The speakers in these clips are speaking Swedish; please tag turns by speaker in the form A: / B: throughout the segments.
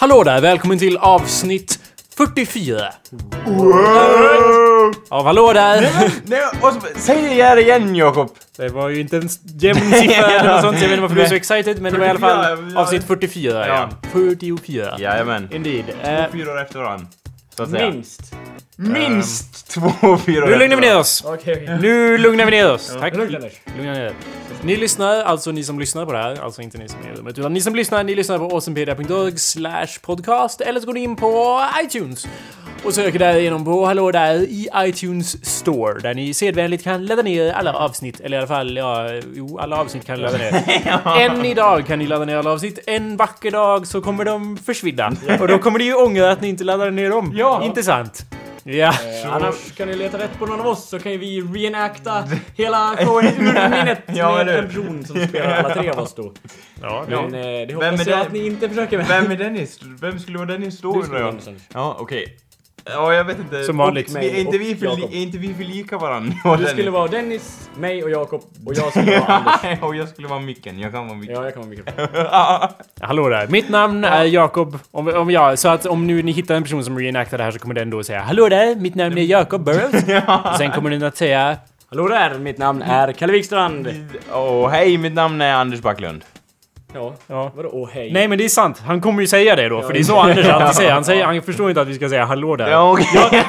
A: Hallå där! Välkommen till avsnitt 44. Av Hallå där!
B: Nej, och så, säg det här igen Jakob!
A: Det var ju inte en jämn siffra eller något sånt. Jag vet inte varför du är så
B: Nej.
A: excited, men det var i alla
B: 44,
A: fall
B: ja.
A: avsnitt 44. Ja. 44.
B: Jajamän.
A: Indeed. Eh,
B: Fyra år efter varandra. Så att säga.
C: Minst.
B: Minst två fyror
A: nu lugnar vi ner oss!
C: Okej, okej.
A: Nu lugnar vi ner oss. Tack.
C: Lugna ner.
A: Lugna ner. Ni lyssnar, alltså ni som lyssnar på det här, alltså inte ni som är i rummet, utan ni som lyssnar, ni lyssnar på awesomepedia.org slash podcast, eller så går ni in på iTunes och söker därigenom på Hallå där i iTunes store, där ni sedvänligt kan ladda ner alla avsnitt, eller i alla fall, ja, jo, alla avsnitt kan ni ladda ner. En idag kan ni ladda ner alla avsnitt, en vacker dag så kommer de försvinna. Och då kommer ni ju ångra att ni inte laddade ner dem.
C: Ja.
A: Intressant. Ja.
C: Eh, annars kan ni leta rätt på någon av oss så kan ju vi reenacta hela showen ur minnet
B: Ja,
C: med
B: eller hur?
C: en person som spelar alla tre av oss då.
A: Ja, det-
C: Men eh, det
B: Vem är
C: hoppas jag
B: det?
C: att ni inte försöker med.
B: Vem är Dennis? Vem skulle vara Dennis då
C: Du skulle
B: undrar
C: vara
B: jag?
C: Dennis.
B: Ja, okej. Ja, jag vet inte.
A: Som vanligt.
B: Och vi- Är inte
C: Mig
B: vi
C: och
B: för,
C: Jakob.
B: li- är inte vi för lika varandra?
C: Du skulle vara Dennis, mig och Jakob och jag skulle vara Anders.
B: och jag skulle vara micken. Jag kan vara micken.
C: Ja, jag kan vara mikrofon.
A: Hallå där, mitt namn är Jakob. Om, om jag, så att om nu ni hittar en person som reenactar det här så kommer den då säga Hallå där, mitt namn är Jakob Burrows. Och Sen kommer den att säga
C: Hallå där, mitt namn är Kalle Wikstrand.
B: Och hej, mitt namn är Anders Backlund.
C: Ja,
A: Ja.
C: vadå åh hej?
A: Nej men det är sant, han kommer ju säga det då för det är så Anders alltid säger. Han, säger. han förstår inte att vi ska säga hallå där. Ja,
B: Ja, okej.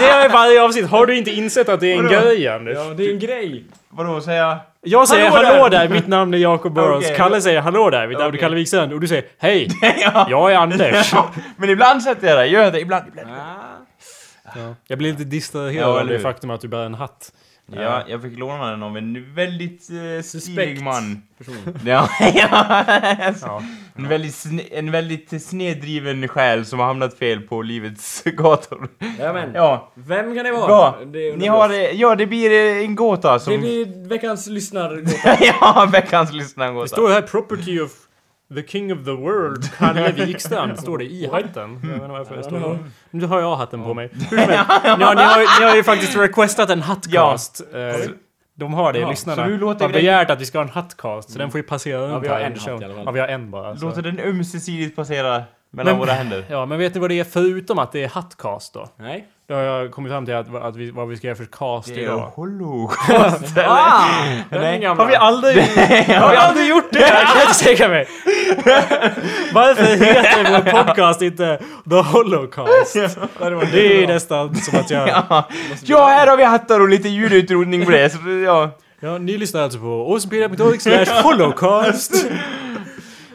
A: det är varje avsnitt. Har du inte insett att det är en
B: Vadå?
A: grej Anders?
C: Ja, det är en grej.
B: Vadå, säger jag?
A: Jag säger
B: Hallå
A: hallå,
B: där."
A: där, mitt namn är Jakob Burrows.
B: Okej.
A: Kalle säger hallå där, mitt namn är
B: Okej.
A: Kalle Wikstrand. Och du säger hej, jag är Anders.
B: Men ibland sätter jag det. Gör jag det? Ibland. ibland.
A: Jag blir lite distraherad
B: Ja,
A: av
B: eller
A: det
B: hur?
A: faktum att du bär en hatt.
B: Ja, jag fick låna den av en väldigt eh, stilig
C: Suspekt.
B: man.
C: Person.
B: Ja,
A: Ja.
B: En, väldigt sne, en väldigt snedriven själ som har hamnat fel på livets gator.
C: Jajamän.
B: Ja,
C: Vem kan det vara?
B: bra.
C: Det är
B: Ni har,
C: underbart.
B: eh, ja, det blir eh, en gåta som...
C: Det blir veckans lyssnar...
B: ja, veckans
A: Det
B: lyssnargåta.
A: står här “Property of the King of the World” Kalle Wikstrand står det i hatten. Jag vet inte varför det står det. Nu har jag hatten på mig. Hur som helst. Ni har, ni, har, ni har ju faktiskt requestat en hattcast. Eh, De har det,
C: Ja,
A: lyssnarna.
B: så du låter
A: har
B: dig-
A: begärt att vi ska ha en hattcast, så den får ju passera runt
C: vi har
A: här
C: en
A: under
C: hatt i
A: showen.
C: alla fall.
A: Ja, vi har en bara. alltså. Så.
B: Låter den ömsesidigt passera mellan
A: Men-
B: våra händer.
A: Ja, men vet ni vad det är förutom att det är hattcast då?
C: Nej.
A: Då har jag kommit fram till att, att vi, vad vi ska göra för cast
B: Det är ju
A: idag.
B: holocaust, eller?
C: Ah!
B: Nej.
C: Den gamla.
A: Har vi aldrig, har vi aldrig gjort det? Jag kan inte tänka mig. Varför heter vår podcast inte The Holocaust? Det är nästan som att jag...
B: Ja, här har vi hattar och lite ljudutrotning på det. Så, ja.
A: Ja, ni lyssnar alltså på åsenpedia.org slash holocaust.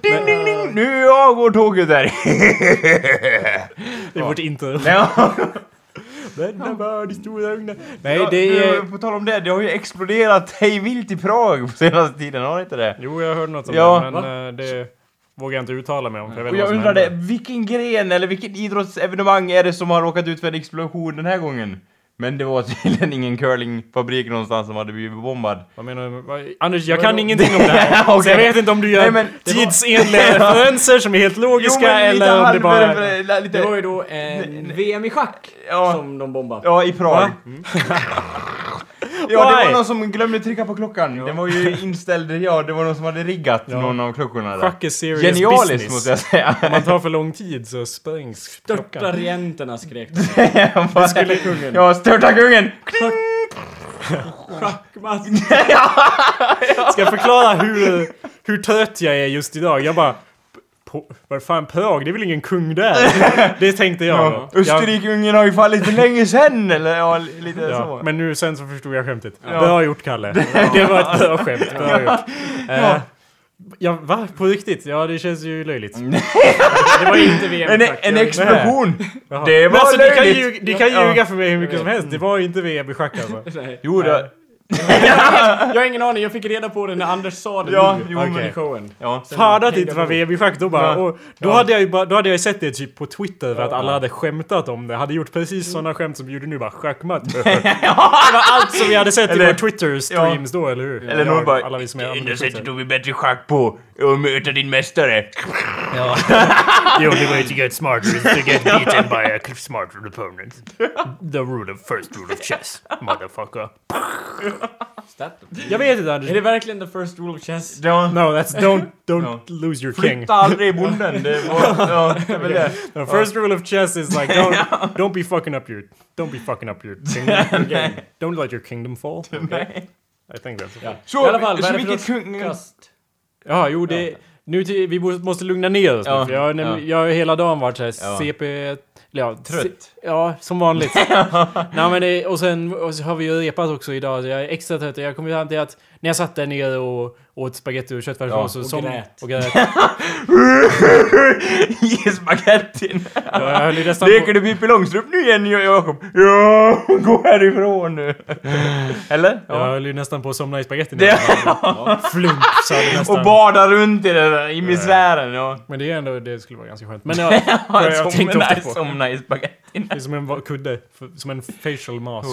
B: Ding, ding, ding! Nu avgår tåget där.
A: Det är vårt intro.
B: Ja.
A: Denna värld i stora ugnar. Nej,
B: Ja,
A: det
B: du,
A: är...
B: På tal om det, det har ju exploderat hej vilt i Prag på senaste tiden, har det inte det?
A: Jo, jag hörde något om
B: Ja.
A: det, men eh, det vågar jag inte uttala mig om. För jag vet
B: Och
A: vad
B: jag
A: som
B: undrade,
A: hände.
B: vilken gren eller vilket idrottsevenemang är det som har råkat ut för en explosion den här gången? Men det var tydligen ingen curlingfabrik någonstans som hade blivit bombad.
A: Vad menar du? Vad- Anders, jag kan ingenting om det här.
B: Okej.
A: Så jag vet inte om du
B: Nej,
A: gör
B: men- det var-
A: tidsenliga referenser som är helt logiska eller om det bara... är-
B: halvrefer- lite,
C: Det var ju då en VM i schack
B: Ja.
C: som de bombade.
B: Ja, i Prag. Mm.
A: Va?
B: ja, det var
A: Why?
B: någon som glömde trycka på klockan. Den var ju inställd, ja, det var någon som hade riggat någon av klockorna där.
A: Schack är serious
B: Genialiskt
A: business.
B: måste jag säga.
A: Om man tar för lång tid så sprängs
C: Störta
A: klockan.
C: regenterna skrek de.
B: Vad-
C: skulle kungen.
B: Ja, störta kungen!
C: Schackmatt.
A: Ska jag förklara hur, hur trött jag är just idag? Jag bara... "På- Vad fan, Prag? Det är väl ingen kung där? Det tänkte jag.
B: Ja,
A: då. Jag-
B: Österrike-Ungern har ju fallit för länge sen eller ja, lite
A: Ja,
B: så.
A: men nu sen så förstod jag skämtet. Bra gjort Kalle. Det var ett bra skämt. Bra gjort. Eh, Ja, va? På riktigt? Ja, det känns ju löjligt.
B: Mm.
C: Det var inte VM
B: En,
C: i schack.
B: en
C: Jag-
B: explosion!
A: Jaha.
B: Det
A: Men
B: var
A: alltså, ni kan,
B: löjligt.
A: ljuga, ni kan
B: Ja.
A: ljuga för mig hur mycket som helst. Det var ju inte VM i schack alltså.
C: Nej.
B: Jo det...
C: Jag har ingen aning, jag fick reda på det när Anders sa det
B: Ja,
C: nu.
B: jo,
C: Okej.
B: men-
C: i showen.
B: Ja.
A: Fan att det inte var VM i schack då bara.
B: Ja.
A: Och då, hade jag ju bara, då hade jag ju sett det typ på Twitter för att alla hade skämtat om det. Hade gjort precis sådana skämt som vi gjorde nu bara. Schackmatt. det var allt som vi hade sett i
B: Eller-
A: våra Twitter-streams då, eller hur?
B: Eller
A: Jag,
B: någon bara...
A: Alla vi som är
B: Det enda
A: använder
B: sättet
A: Twitter.
B: att bli bättre i schack på Och möta din mästare.
D: Ja. the only way to get smarter is to get beaten by a smarter opponent. The rule of first rule of chess, motherfucker.
A: Jag vet inte
C: Är
A: Anders.
C: det verkligen the first rule of chess?
B: Ja.
A: No, that's don't, don't
B: No.
A: lose your king.
B: Flytta aldrig bonden. Det var, ja, det är väl det.
A: The
B: Oh.
A: first rule of chess is like don't, don't be fucking up your, don't be fucking up your kingdom. don't let your kingdom fall.
B: Nej.
A: I think that's
B: Så,
C: I alla fall, vad är
B: så
C: det för
B: vilket
C: sorts
B: kung...
C: Kast.
A: Ja, jo det... Nu till, vi borde- måste lugna ner oss
B: Ja,
A: nu, för jag, har nämligen- jag har hela dagen varit såhär
B: Ja.
A: CP... eller Ja,
B: Trött.
A: C, ja, som vanligt. Nej, men det, och sen och så har vi ju repat också idag, så jag är extra trött. Jag kom ju fram till att när jag satt där nere och åt spagetti och köttfärssås
B: Ja,
A: och,
C: och
A: som,
C: grät.
A: Och grät.
B: I spagettin.
A: Ja, jag höll ju nästan
B: Leker
A: på,
B: du Pippi Långstrump nu igen Jakob? Ja, gå härifrån nu. Eller?
A: jag höll ju nästan på att somna i spagettin.
B: Det-
A: Flump, sa det nästan.
B: Och bada runt i, det där, i misären. Ja.
A: men det är ändå, det skulle vara ganska skönt. Men ja, jag, jag tänkte
B: somna,
A: ofta på.
B: somna i spagettin.
A: Det är som en va- kudde, för- som en facial mask.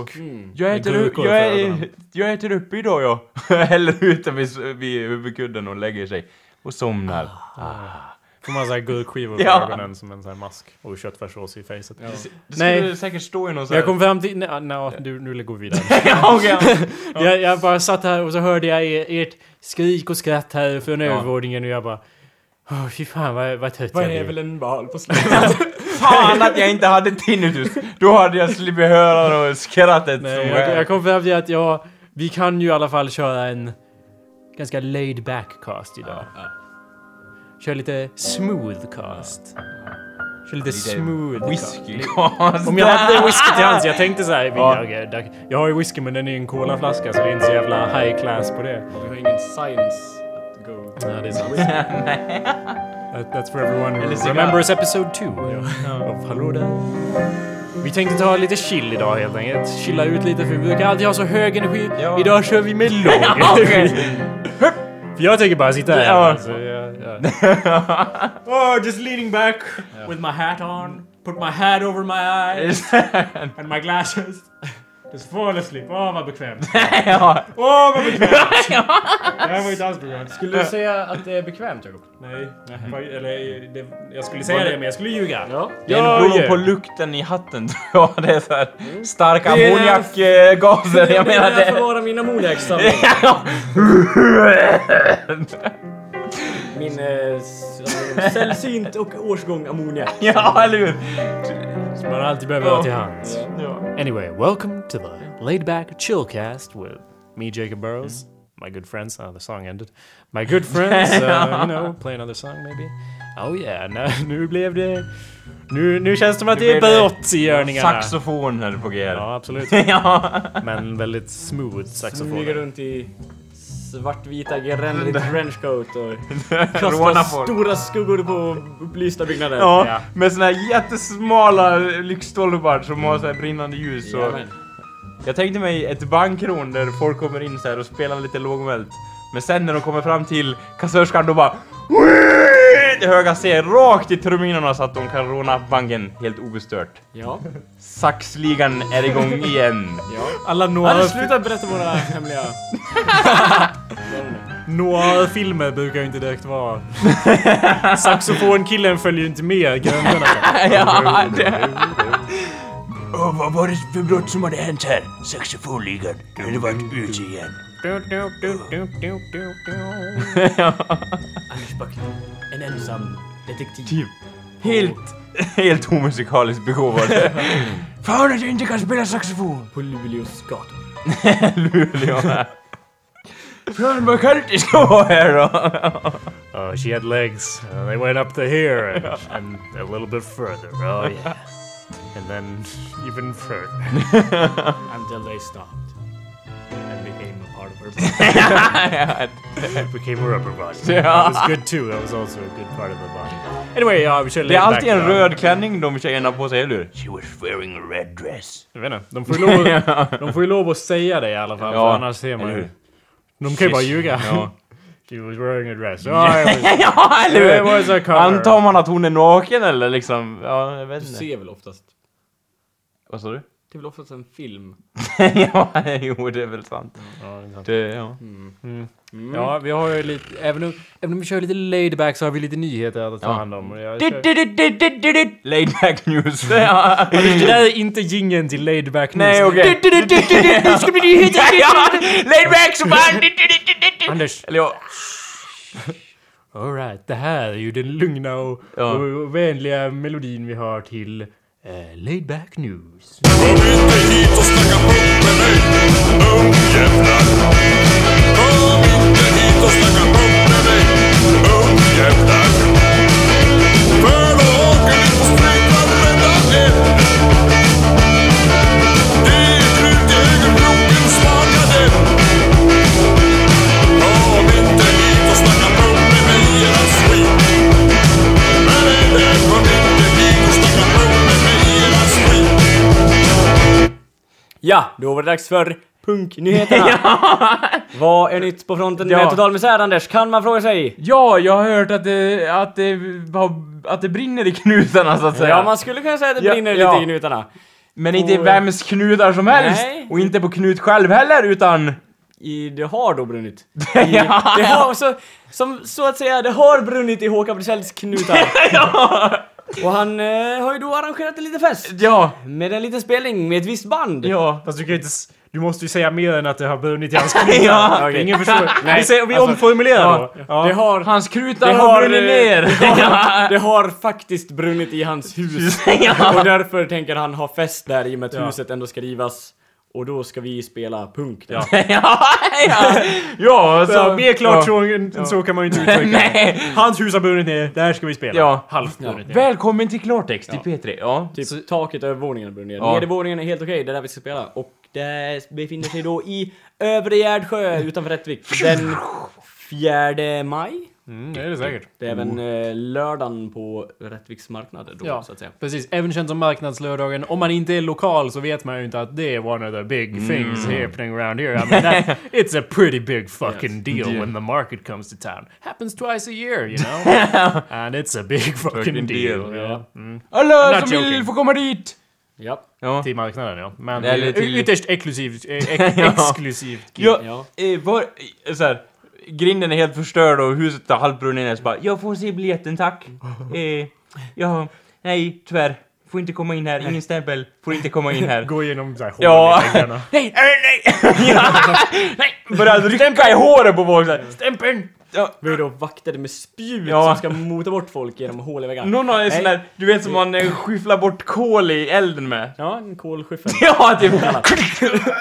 B: Jag
A: Med
B: äter, upp,
A: gurkor
B: jag,
A: för
B: är,
A: ögonen.
B: jag äter upp idag jag. Häller ut den vid, s- vid huvudkudden och lägger sig. Och somnar.
A: Får man såhär guldskivor på
B: Ja.
A: ögonen som en sån här mask. Och köttfärssås i facet.
B: Det
A: Nej.
B: skulle säkert stå i någon sån
A: Jag
B: här...
A: kom fram till... Nej, nej du, nu går vi vidare.
B: ja, okej.
A: jag, jag bara satt här och så hörde jag er, ert skrik och skratt här från övervåningen och jag bara... Åh, fy fan vad, vad trött
C: Vad
A: jag
C: är
A: blev.
C: väl en val på slutet?
B: Fan att jag inte hade tinnitus! Då hade jag sluppit höra och skrattet
A: Nej,
B: som
A: jag,
B: är.
A: jag kom fram till att jag... Vi kan ju i alla fall köra en ganska laid back cast idag. Kör lite smooth cast. Kör lite, smooth cast.
B: Whisky. Konstigt.
A: Om jag hade whisky till hands, jag tänkte såhär, ja. jag, jag har ju whisky men den är ju en colaflaska så det är inte så jävla high class på det.
C: Vi har ingen science att go.
A: Ja, det är sant. That, that's for everyone who
B: Eller cigarr.
A: remembers episode 2 of Hallå där. Vi tänkte ta lite chill idag helt enkelt. Chilla ut lite för vi brukar alltid ha så hög energi.
B: Ja.
A: Idag kör vi med låg energi. För jag tänker bara sitta här.
B: Ja.
A: alltså, ja, ja.
C: Oh, just leaning back with my hat on. Put my hat over my eyes and my glasses. Just fall asleep. Åh, vad bekvämt.
B: ja.
C: Åh, vad bekvämt! Det här var ju inte alls bekvämt.
A: Skulle du säga att det är bekvämt Jakob?
C: Nej.
B: Mm.
C: Eller, det, jag skulle säga det, men jag skulle ljuga.
A: Ja.
B: Det beror nog på lukten i hatten tror jag. Det är så här starka
C: Det är-
B: ammoniakgaser. Jag menar
C: Jag
B: det.
C: förvarar min ammoniaksamling. Min eh, s- sällsynt och årsgång ammoniak.
B: Ja, eller hur?
A: Som man alltid behöver ha till
B: Ja.
A: hands.
B: Ja.
A: Anyway, welcome to the laid back chill cast with me, Jacob Burrows,
B: Mm.
A: my good friends. Oh, the song ended. My good friends, uh, you know, play another song maybe. Oh yeah, nu, nu blev det... Nu, nu känns det som att
B: Nu
A: det är
B: blev det-
A: barott i görningarna.
B: Saxofon är på G.
A: Ja, absolut. Men väldigt smooth
C: Smyger
A: saxofon.
C: runt i svartvita geränner i trenchcoat och
B: Råna
C: kastar
B: folk.
C: stora skuggor på upplysta byggnader.
B: Ja, med såna här jättesmala lyktstolpar som har så här brinnande ljus. Och
C: Jajamän.
B: jag tänkte mig ett bankrån där folk kommer in så här och spelar lite lågmält. Men sen när de kommer fram till kassörskan då bara det höga C rakt i trumminorna så att de kan råna banken helt obestört.
C: Ja.
B: Saxligan är igång igen.
A: Alla
C: Anders,
A: noir-
C: sluta berätta våra hemliga...
A: noir-filmer eh, brukar ju inte direkt vara... Saxofonkillen följer ju inte med grönarna.
B: ja, det.
E: Åh, vad var det för brott som hade hänt här? Saxofonligan, nu har det varit ute igen.
C: Anders Backlund. En ensam detektiv.
B: Typ. Helt, helt omusikaliskt begåvad.
E: Fan att jag inte kan spela saxofon!
C: På Luleås gator.
B: Luleå. Fan vad kallt det ska vara här då.
A: Uh, she had legs. Uh, they went up to here and, and a little bit further. Oh yeah, and then even further.
C: Until they stopped. And became a part of our body.
A: It became a rubber body.
B: Ja.
A: That was good too. That was also a good part of the body. Anyway, ja, vi kör
B: Det är alltid en röd klänning de tjejerna har på sig, eller hur?
E: She was wearing a red dress.
A: Jag vet inte. De får ju lov, att- de får ju lov att säga det i alla fall.
B: Ja,
A: För annars ser man
B: eller
A: ju.
B: hur?
A: De kan ju bara ljuga.
B: Ja.
A: She was wearing a dress. Oh, it was,
B: ja,
A: it
B: eller hur?
A: was a cover.
B: Antar man att hon är naken eller liksom? Ja, jag vet
C: Du
B: inte.
C: ser väl oftast?
B: Vad sa du?
F: Det är väl oftast en film?
B: ja, jo, det är väl sant. Det, ja.
A: Mm. Ja, vi har ju lite, även om, även om vi kör lite laid back så har vi lite nyheter att ta
B: Ja.
A: hand om. Och jag
B: Du,
A: kör-
B: du, du, du, du, du, du. Laid back news. Ja.
A: Alltså, Det där är inte jingeln till laid back
B: Nej,
A: news.
B: okej.
A: Nu ska vi nyheter!
B: Laid back som fan. Du, du, du, du, du.
A: Anders,
B: Eller ja.
A: alright, det här är ju den lugna och,
B: Ja.
A: och, och vänliga melodin vi har till eh, laid back news.
G: Kom inte hit och snacka punk med mig, ungjävlar. Kom inte hit och snacka punk med mig, ungjävlar. För då åker ni på stryk varenda en. Det är krut i högerblocken, smaka den. Kom inte hit och snacka punk med mig, era skit. Men det är kom inte hit och snacka punk med mig, era skit.
F: Ja, då var det dags för punknyheterna. Vad är nytt på fronten med
B: Ja.
F: total misär Anders? Kan man fråga sig?
B: ja, jag har hört att det, att det, har- att det brinner i knutarna så att säga.
F: Ja, man skulle kunna säga att det
B: Ja,
F: brinner
B: ja.
F: lite i knutarna.
B: Men inte i vems knutar som helst.
F: Nej.
B: Och inte på Knut själv heller, utan...
F: I, det har då brunnit.
B: ja.
F: Det har så, som, så att säga, det har brunnit i Håkan Brisells knutar. Och han eh, har ju då arrangerat en liten fest.
B: ja,
F: Med en liten spelning med ett visst band.
B: ja.
A: Fast du kan ju inte... s- Du måste ju säga mer än att det har brunnit i hans kniv.
B: Ja, alltså,
F: okej.
A: Ingen förstår. vi säger, vi omformulerar då.
B: Ja.
F: Alltså- Det har-
B: Hans krutar
F: det
B: har,
F: har,
B: brunnit
F: eh,
B: ner!
F: Det har faktiskt brunnit i hans hus. Och därför tänker han ha fest där i och med att huset ändå ska rivas. Och då ska vi spela punk där.
B: ja, så...
A: Så, alltså, mer klart
B: ja.
A: så, än så kan man ju inte uttrycka det. Hans hus har brunnit ner, där ska vi spela.
B: Ja.
A: Halvt brunnit ner.
B: Välkommen till klartext i P3. Ja.
F: Typ taket över våningen brinner ner.
B: Ja.
F: Nedervåningen är helt okej, det är där vi ska spela. Och det befinner sig då i Övre Gärdsjö utanför Rättvik den 4 maj.
A: Mm, det är det säkert.
F: Det är även eh, lördagen på Rättviks marknad då,
A: Ja,
F: så att säga.
A: precis. Även känt som marknadslördagen. Om man inte är lokal så vet man ju inte att det är one of the big things happening around here. I mean, that, it's a pretty big fucking deal when the market comes to town. Happens twice a year, you know? And it's a big fucking,
B: Fucking
A: deal.
B: deal,
A: Ja.
B: Alla
A: Not
B: som vill
A: joking.
B: får komma dit!
F: Ja.
B: Ja.
A: Till marknaden, ja. Men
B: Eller
A: det är
B: till-
A: ytterst exklusivt. eh, Ex
B: Ja.
A: Exklusivt. gig.
B: Ja,
F: Ja.
B: eh, var, eh, så här, grinden är helt förstörd och huset är halvbrunnet ner så bara Jag får se biljetten tack. Eh, ja, nej tyvärr. Får inte komma in här, ingen stämpel. Får inte komma in här.
A: Gå igenom så här hål
B: Ja.
A: i väggarna.
B: nej, nej, nej! ja. nej. Börjar rycka i håret på folk så här. Stämpeln! Ja.
F: Vi är då vaktade med spjut
B: Ja.
F: som ska mota bort folk genom hål i väggarna.
B: Någon har en sån
F: Nej.
B: där, du vet som man eh, skyfflar bort kol i elden med.
F: Ja, en kolskyffel.
B: Ja, typ.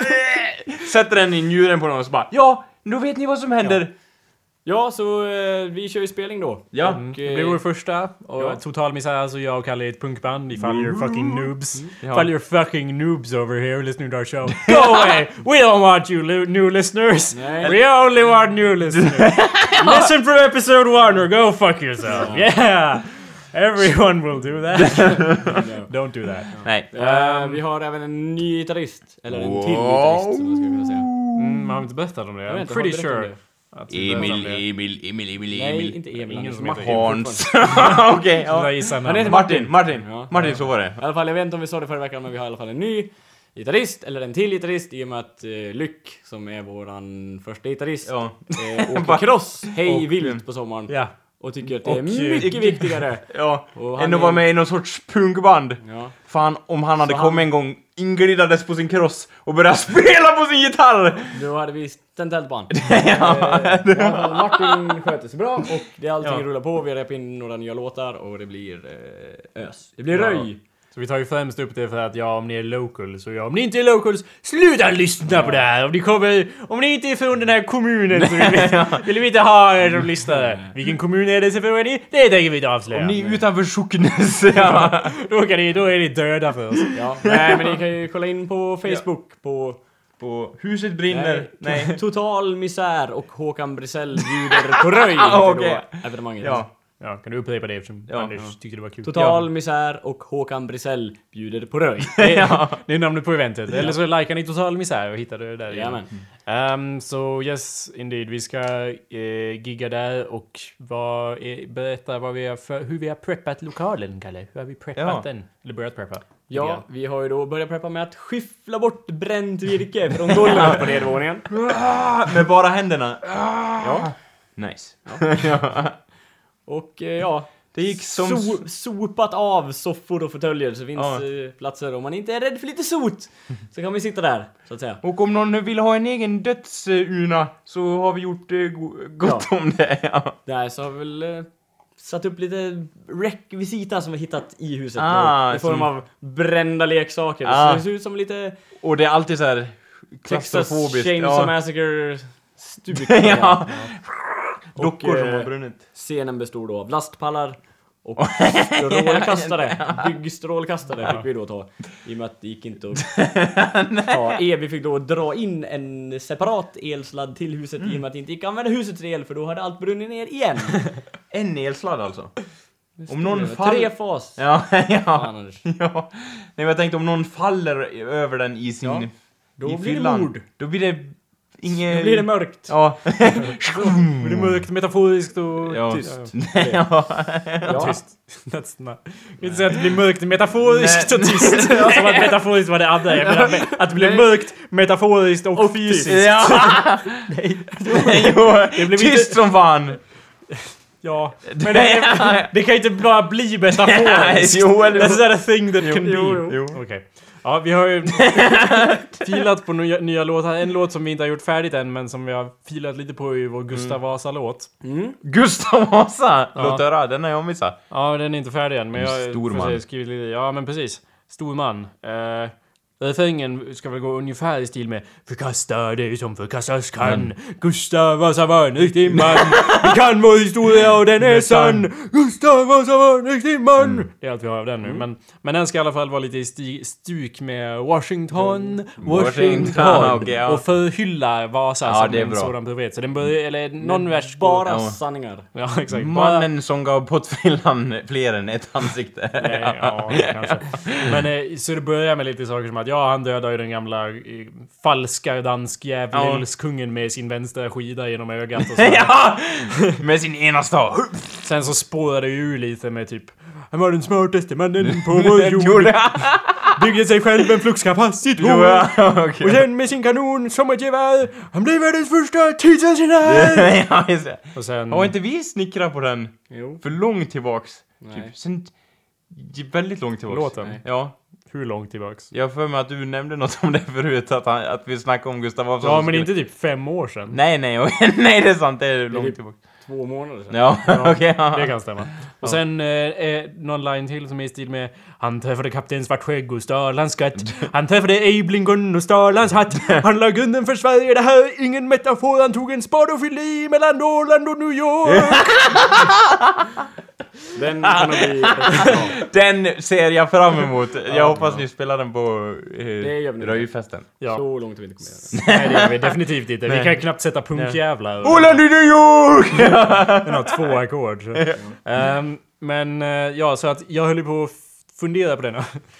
B: Sätter den i njuren på någon och så bara Ja, nu vet ni vad som händer.
F: Ja, så eh, vi kör ju spelning då.
B: Ja.
F: Och,
A: Det blir
F: eh,
A: vår första. Och
F: Ja. Mm.
A: Total misär, alltså jag och Kalle är ett punkband. Ifall you're fucking noobs. Ifall you're fucking noobs over here listening to our show. Go away! We don't want you li- new listeners!
F: Nej.
A: We only want new listeners! Listen from episode one or go fuck yourself! Yeah! Everyone will do that. Don't do that.
B: Nej.
F: eh, vi har även en ny gitarrist. Eller en till gitarrist som man skulle kunna säga.
A: Mm, har vi inte berättat om det?
F: Jag vet
A: I'm
F: inte,
A: pretty
F: har vi berättat om
A: sure. att vi berättade om det.
E: Emil, Emil, Emil,
F: Nej, inte Emil.
A: Ingen
F: Ingen
A: som heter Emil.
B: Hans. Okej,
A: Jag
B: ja.
A: gissar
F: Han heter
A: namn.
B: Martin, Martin.
F: Ja.
B: Martin, så var det.
F: I alla fall, jag vet inte om vi sa det förra veckan, men vi har i alla fall en ny gitarrist, eller en till gitarrist, i och med att eh, Lyck, som är våran första gitarrist,
B: Ja.
F: eh, åker
B: Bara-
F: cross hej
B: Och-
F: vilt på sommaren.
A: Ja.
F: Och tycker att det är
A: Och,
F: mycket
B: eh,
F: viktigare.
B: Ja,
F: Och han
B: än att
F: är-
B: vara med i någon sorts punkband.
F: Ja.
B: Fan, om han hade
F: Så
B: kommit
F: han-
B: en gång, inglidades på sin cross och börjat spela på sin gitarr!
F: Då hade vi tänt eld på han. Eh, i alla fall, Martin sköter sig bra och det är allting
B: Ja.
F: rullar på. Vi har repat in några nya låtar och det blir eh, ös. Det blir
A: Ja.
F: röj.
A: Så vi tar ju främst upp det för att ja, om ni är locals och ja, om ni inte är locals, sluta lyssna på det här! Om ni, kommer, om ni inte är från den här kommunen så vill vi, vill vi inte ha er som lyssnare. Vilken kommun är det så frågar ni? Det tänker vi inte avslöja.
B: Om ni är utanför Socknes, ja.
A: då, kan ni, då är ni döda för oss.
F: Ja. Nej men ni kan ju kolla in på Facebook på
B: På huset brinner. Nej.
F: Nej. Total misär och Håkan Brisell bjuder på röj
B: Ah,
F: heter
B: okej.
F: då evenemanget.
B: Ja.
A: Ja, kan du upprepa det eftersom
B: Ja.
A: Anders tyckte det var kul?
F: Total
A: Ja.
F: misär och Håkan Brisell bjuder på röj.
A: Det, det är namnet på eventet. Eller så likar ni Total Misär och hittar det där. igen.
F: Jajamän.
A: Ehm, so yes indeed, vi ska eh, gigga där och vad, är- berätta vad vi har för, hur vi har preppat lokalen Kalle. Hur har vi preppat
B: Ja.
A: den? Eller börjat preppa?
F: Ja, vi har ju då börjat preppa med att skyffla bort bränt virke från golvet på nedervåningen.
B: Med bara händerna?
F: Ah.
B: Ja. Nice.
F: Och eh, ja,
B: Det gick som...
F: so sopat av soffor och fåtöljer så finns
B: Liksom Ja.
F: eh, platser. Om man inte är rädd för lite sot så kan vi sitta där, så att säga.
B: Och om någon vill ha en egen dödsuna så har vi gjort eh, go- gott om det. Ja.
F: Där så har vi väl eh, satt upp lite rekvisita som vi hittat i huset.
B: Ah,
F: då, I form
B: som-
F: av brända leksaker.
B: Ah.
F: Så det ser ut som lite
B: Och det är alltid så här
F: Texas
B: klaustrofobiskt.
F: Chainsaw
B: ja.
F: Massacre stuk.
B: Ja. Dockor
F: Och,
B: som har
F: eh,
B: brunnit.
F: Scenen bestod då av lastpallar och strålkastare. Byggstrålkastare fick vi då ta. I och med att det gick inte att ta el. Vi fick då dra in en separat elsladd till huset i och med att det inte gick att använda husets el för då hade allt brunnit ner igen.
B: En elsladd alltså? Om någon
F: Tre
B: faller...
F: fas.
B: Ja, ja,
F: Fan, Anders.
B: ja. Nej, men jag tänkte om någon faller över den i sin...
F: Ja. Då
B: i
F: blir det
B: fyllan,
F: mord.
B: Då blir det... Inget...
F: Nu blir det mörkt.
B: Ja.
A: Det är mörkt, metaforiskt och
B: Ja.
A: tyst.
B: ja.
A: Ja. Tyst. That's not... Jag vill inte säga att det blir mörkt metaforiskt och tyst. Som att metaforiskt var det andra. Jag menar me- att det blir mörkt metaforiskt och, fysiskt.
B: Ja! Nej.
A: Det blev
B: Tyst
A: inte...
B: som fan!
A: Ja. Men det, det kan ju inte bara bli
B: Nej,
A: metaforiskt.
B: jo, eller
A: That's not a thing that can be.
B: Jo.
A: Okej. Ja, vi har ju filat på nya, nya låtar. En låt som vi inte har gjort färdigt än, men som vi har filat lite på är ju vår Gustav Vasa-låt.
B: Gustav Vasa! Låt höra, den har jag missat.
A: Ja, den är inte färdig än, men
B: En
A: jag
B: stor
A: får
B: man.
A: se, skrivit lite. Ja, men precis. Stor man. Uh, Refrängen ska väl gå ungefär i stil med Förkasta det som förkastas kan
B: Mm.
A: Gustav Vasa var en riktig man Vi kan vår historia och den är sann Gustav Vasa var en riktig man
B: Mm.
A: Det är allt vi har av den nu men, men den ska i alla fall vara lite i sti- stuk med Washington Washington,
B: Mm. Washington, okej, ja.
A: Och förhylla Vasa
B: Ja,
A: som
B: det är
A: en
B: bra.
A: sådan profet Så den börjar, eller någon vers går-
F: Bara
B: Ja.
F: sanningar.
A: Ja exakt Bara-
B: Mannen som gav pottfrillan fler än ett ansikte.
A: Nej, ja, kanske. Men eh, så det börjar med lite saker som att ja, han dödar ju den gamla eh, falska danskdjävulskungen med sin vänstra skida genom ögat och så.
B: ja! Med sin ena stav.
A: Sen så spårar det ju ur lite med typ Han var den smartaste
B: Mm.
A: mannen på vår jord. Byggde sig själv en fluxkapass i
B: Jo,
A: två.
B: ja,
A: Och
B: okej.
A: sen med sin kanon som ett gevär. Han blev världens första tidsresenär!
B: Ja, just det.
A: Och sen...
B: Har inte vi snickrat på den?
F: Jo.
B: För långt tillbaks.
F: Nej.
B: Typ, sen, j- väldigt långt tillbaks.
A: Låten?
B: Nej. Ja.
A: Hur långt tillbaks?
B: Jag har för mig att du nämnde något om det förut, att, han, att vi snackade om Gustav Vasa.
A: Ja,
B: som
A: men
B: skulle-
A: inte typ fem år sedan.
B: Nej, nej, okej. nej det är sant. Det är långt
F: typ-
B: tillbaka.
F: Två månader sedan.
B: Ja, okej.
A: Det
B: ja.
A: kan stämma. Och sen eh, eh, någon line till som är i stil med Han träffade kapten Svartskägg och stal hans skatt. Han träffade Eiblingon och stal hans hatt. Han la grunden för Sverige, det här är ingen metafor. Han tog en spade och fyllde i mellan Norrland och New York.
F: Den kan nog bli...
B: Den ser jag fram emot. Jag hoppas ni spelar den på
F: Det gör vi
B: eh,
F: nu.
B: röjfesten.
A: Ja,
F: Så långt har vi inte kommit.
A: nej det gör vi definitivt inte. Vi kan knappt sätta punkjävlar.
B: Åland i New York!
A: Den har två ackord. så. Ehm, men eh, ja, så att jag höll ju på att f- fundera på den.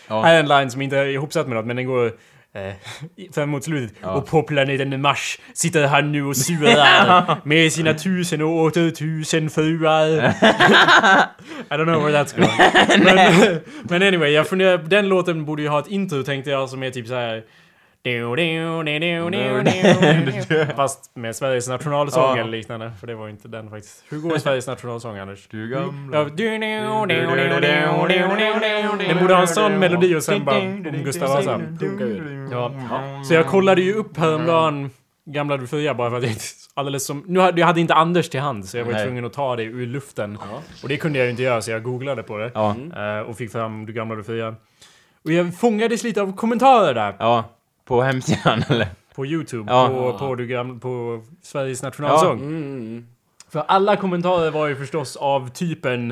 A: Här är en line som inte är ihopsatt med något, men den går eh, fram mot slutet. Och på planeten Mars sitter han nu och surar med sina tusen och åter tusen fruar. I don't know where that's going. men, men anyway, jag funderar, den låten borde ju ha ett intro tänkte jag som är typ så här. Du, du, du, du, du, du, du. Fast med Sveriges nationalsång
B: Ja.
A: eller liknande. För det var ju inte den faktiskt. Hur går Sveriges nationalsång Anders?
B: Du gamla...
A: Ja, du, du, du, du, du, du, du. Den borde ha en sån melodi och sen bara om Gustav Vasa. Ja. Så jag kollade ju upp häromdagen Gamla du fria bara för att jag inte alldeles som... Nu hade, jag hade inte Anders till hand så jag var
B: Nej.
A: tvungen att ta det ur luften. Och det kunde jag ju inte göra så jag googlade på det.
B: Ja.
A: Eh, Och fick fram Du gamla du fria. Och jag fångades lite av kommentarer där.
B: Ja. På hemsidan eller?
A: På Youtube.
B: Ja.
A: På, på, du gamla, på Sveriges nationalsång. För alla kommentarer var ju förstås av typen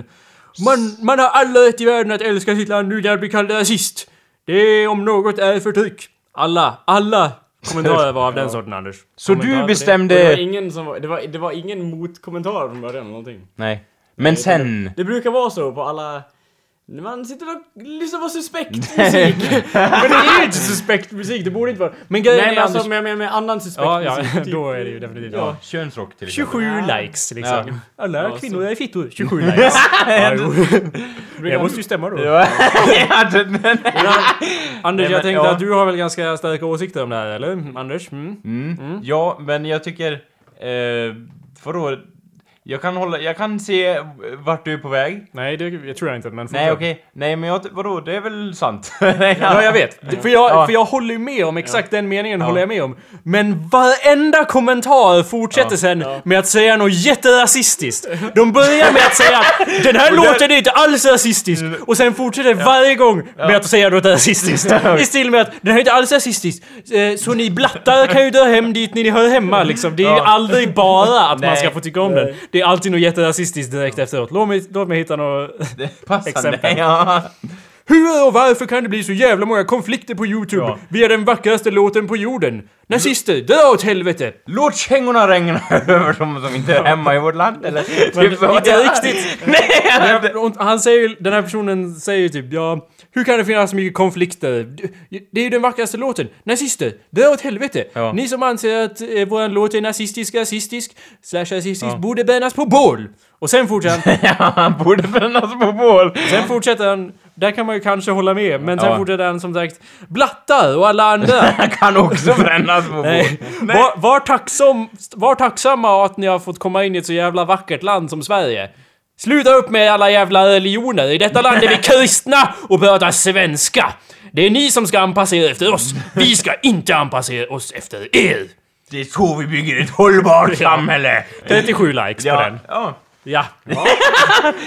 A: man, man har alla rätt i världen att älska sitt land utan att bli kallad rasist. Det om något är förtryck. Alla, alla kommentarer var av den sorten Anders.
B: Så
A: Kommentarer på
B: du
F: Det, det, var
B: bestämde...
F: ingen som var, det, var, det var ingen motkommentar från början eller någonting.
B: Nej. Men sen...
F: Det brukar vara så på alla Man sitter och lyssnar på suspekt musik.
A: Men det är ju inte suspekt musik, det borde inte vara. Men grejen
F: Nej men
A: är
F: alltså
A: Anders...
F: men jag menar med annan suspekt
A: Ja, ja,
F: musik. typ.
A: då är det ju definitivt.
B: Ja, könsrock till exempel.
A: 27 likes liksom.
B: Ja.
A: Alla
F: Ja,
A: kvinnor är fittor. 27 likes. ja, jo. jag måste ju stämma då. eh,
B: Ja, ja, den, den.
A: Anders,
B: Nej,
A: jag
B: men,
A: tänkte
B: ja.
A: att du har väl ganska starka åsikter om det här, eller? Anders? Mm.
B: ja, men jag tycker... Eh, vadå? Jag kan, hålla, jag kan se vart du är på väg.
A: Nej, det jag tror jag inte, men
B: Nej
A: fortsätt.
B: okej, nej men jag, vadå det är väl sant? Nej,
A: Ja, jag vet. Det- För jag,
B: Ja.
A: för jag håller ju med om exakt den meningen, håller jag med om. Men varenda kommentar fortsätter sen med att säga något jätterasistiskt. De börjar med att säga att den här låten är inte alls rasistisk. Och sen fortsätter varje gång med att säga något rasistiskt. I stil med att den här är inte alls rasistisk. Eh, Så ni blattar kan ju dra hem dit när ni hör hemma liksom. Det är ju aldrig bara att man ska
B: Nej.
A: få tycka om den. Det är alltid något jätterasistiskt direkt efteråt. Låt mig, låt mig hitta något...
B: det passar
A: Exempel.
B: dig. Ja.
A: Hur och varför kan det bli så jävla många konflikter på YouTube?
B: Ja.
A: Vi är den vackraste låten på jorden. Nazister, dra åt helvete!
B: Låt kängorna regna över dem som inte är hemma i vårt land eller? Typ så.
A: Inte riktigt. Nej, och Han säger ju, den här personen säger ju typ ja, hur kan det finnas så mycket konflikter? Det är ju den vackraste låten. Nazister, dra åt helvete.
B: Ja.
A: Ni som anser att eh, våran låt är nazistisk, rasistisk, slash rasistisk, borde brännas på bål. Och sen fortsätter han,
B: Han borde brännas på bål!
A: sen fortsätter han, där kan man ju kanske hålla med, men sen
B: Ja.
A: fortsätter han som sagt, blattar och alla andra.
B: Han kan också brännas på bål!
A: Nej. Var, var, tacksam, var tacksamma att ni har fått komma in i ett så jävla vackert land som Sverige. Sluta upp med alla jävla religioner. I detta land är vi kristna och pratar svenska. Det är ni som ska anpassa er efter oss. Vi ska inte anpassa er- oss efter er.
B: Det är så vi bygger ett hållbart samhälle!
A: 37 likes på den.
B: ja.
A: Ja.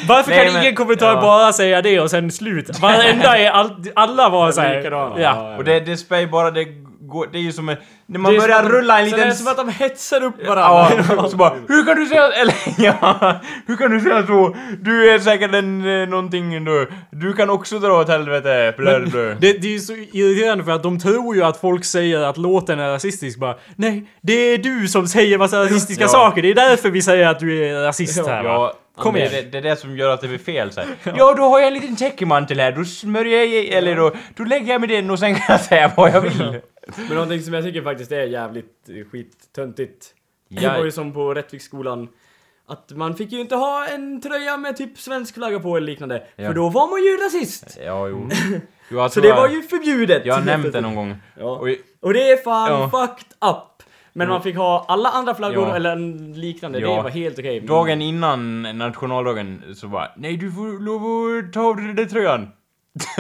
A: Varför
B: Nej,
A: kan
B: men-
A: ingen kommentar
B: ja.
A: bara säga det och sen slut? Varenda är... All, alla var såhär...
F: likadana.
A: Ja.
B: Och det, det spär bara, det går, det är ju som en... När man
F: Det är
B: börjar
F: som att-
B: rulla en
F: Sen är det
B: liten...
F: som att de hetsar upp varandra.
B: Ja, så bara, hur kan du säga... Eller ja, hur kan du säga så? Du är säkert en eh, någonting du. Du kan också dra åt helvete, blö, blö.
A: Det, det är ju så irriterande för att de tror ju att folk säger att låten är rasistisk bara Nej, det är du som säger massa rasistiska
B: Ja.
A: saker, det är därför vi säger att du är rasist här va?
B: Ja,
A: Kom
B: det,
A: igen.
B: Det, det är det som gör att det blir fel så här. Ja, då har jag en liten täckmantel här, då smörjer jag i, eller då, då lägger jag mig den och sen kan jag säga vad jag vill.
F: Men någonting som jag tycker faktiskt är jävligt eh, skittöntigt. Det
B: Ja.
F: var ju som på Rättviksskolan. Att man fick ju inte ha en tröja med typ svensk flagga på eller liknande.
B: Ja.
F: För då var man ju rasist.
B: Ja, jo. jo jag
F: Mm. Så
B: tror
F: det var
B: jag-
F: ju förbjudet.
B: Jag har nämnt det någon gång.
F: Ja.
B: Och,
F: Och det är fan
B: Ja.
F: fucked up. Men man fick ha alla andra flaggor
B: Ja.
F: eller en liknande,
B: Ja.
F: det var helt okej. Mm. Men-
B: Dagen innan nationaldagen så bara Nej du får lov att ta av dig den där tröjan!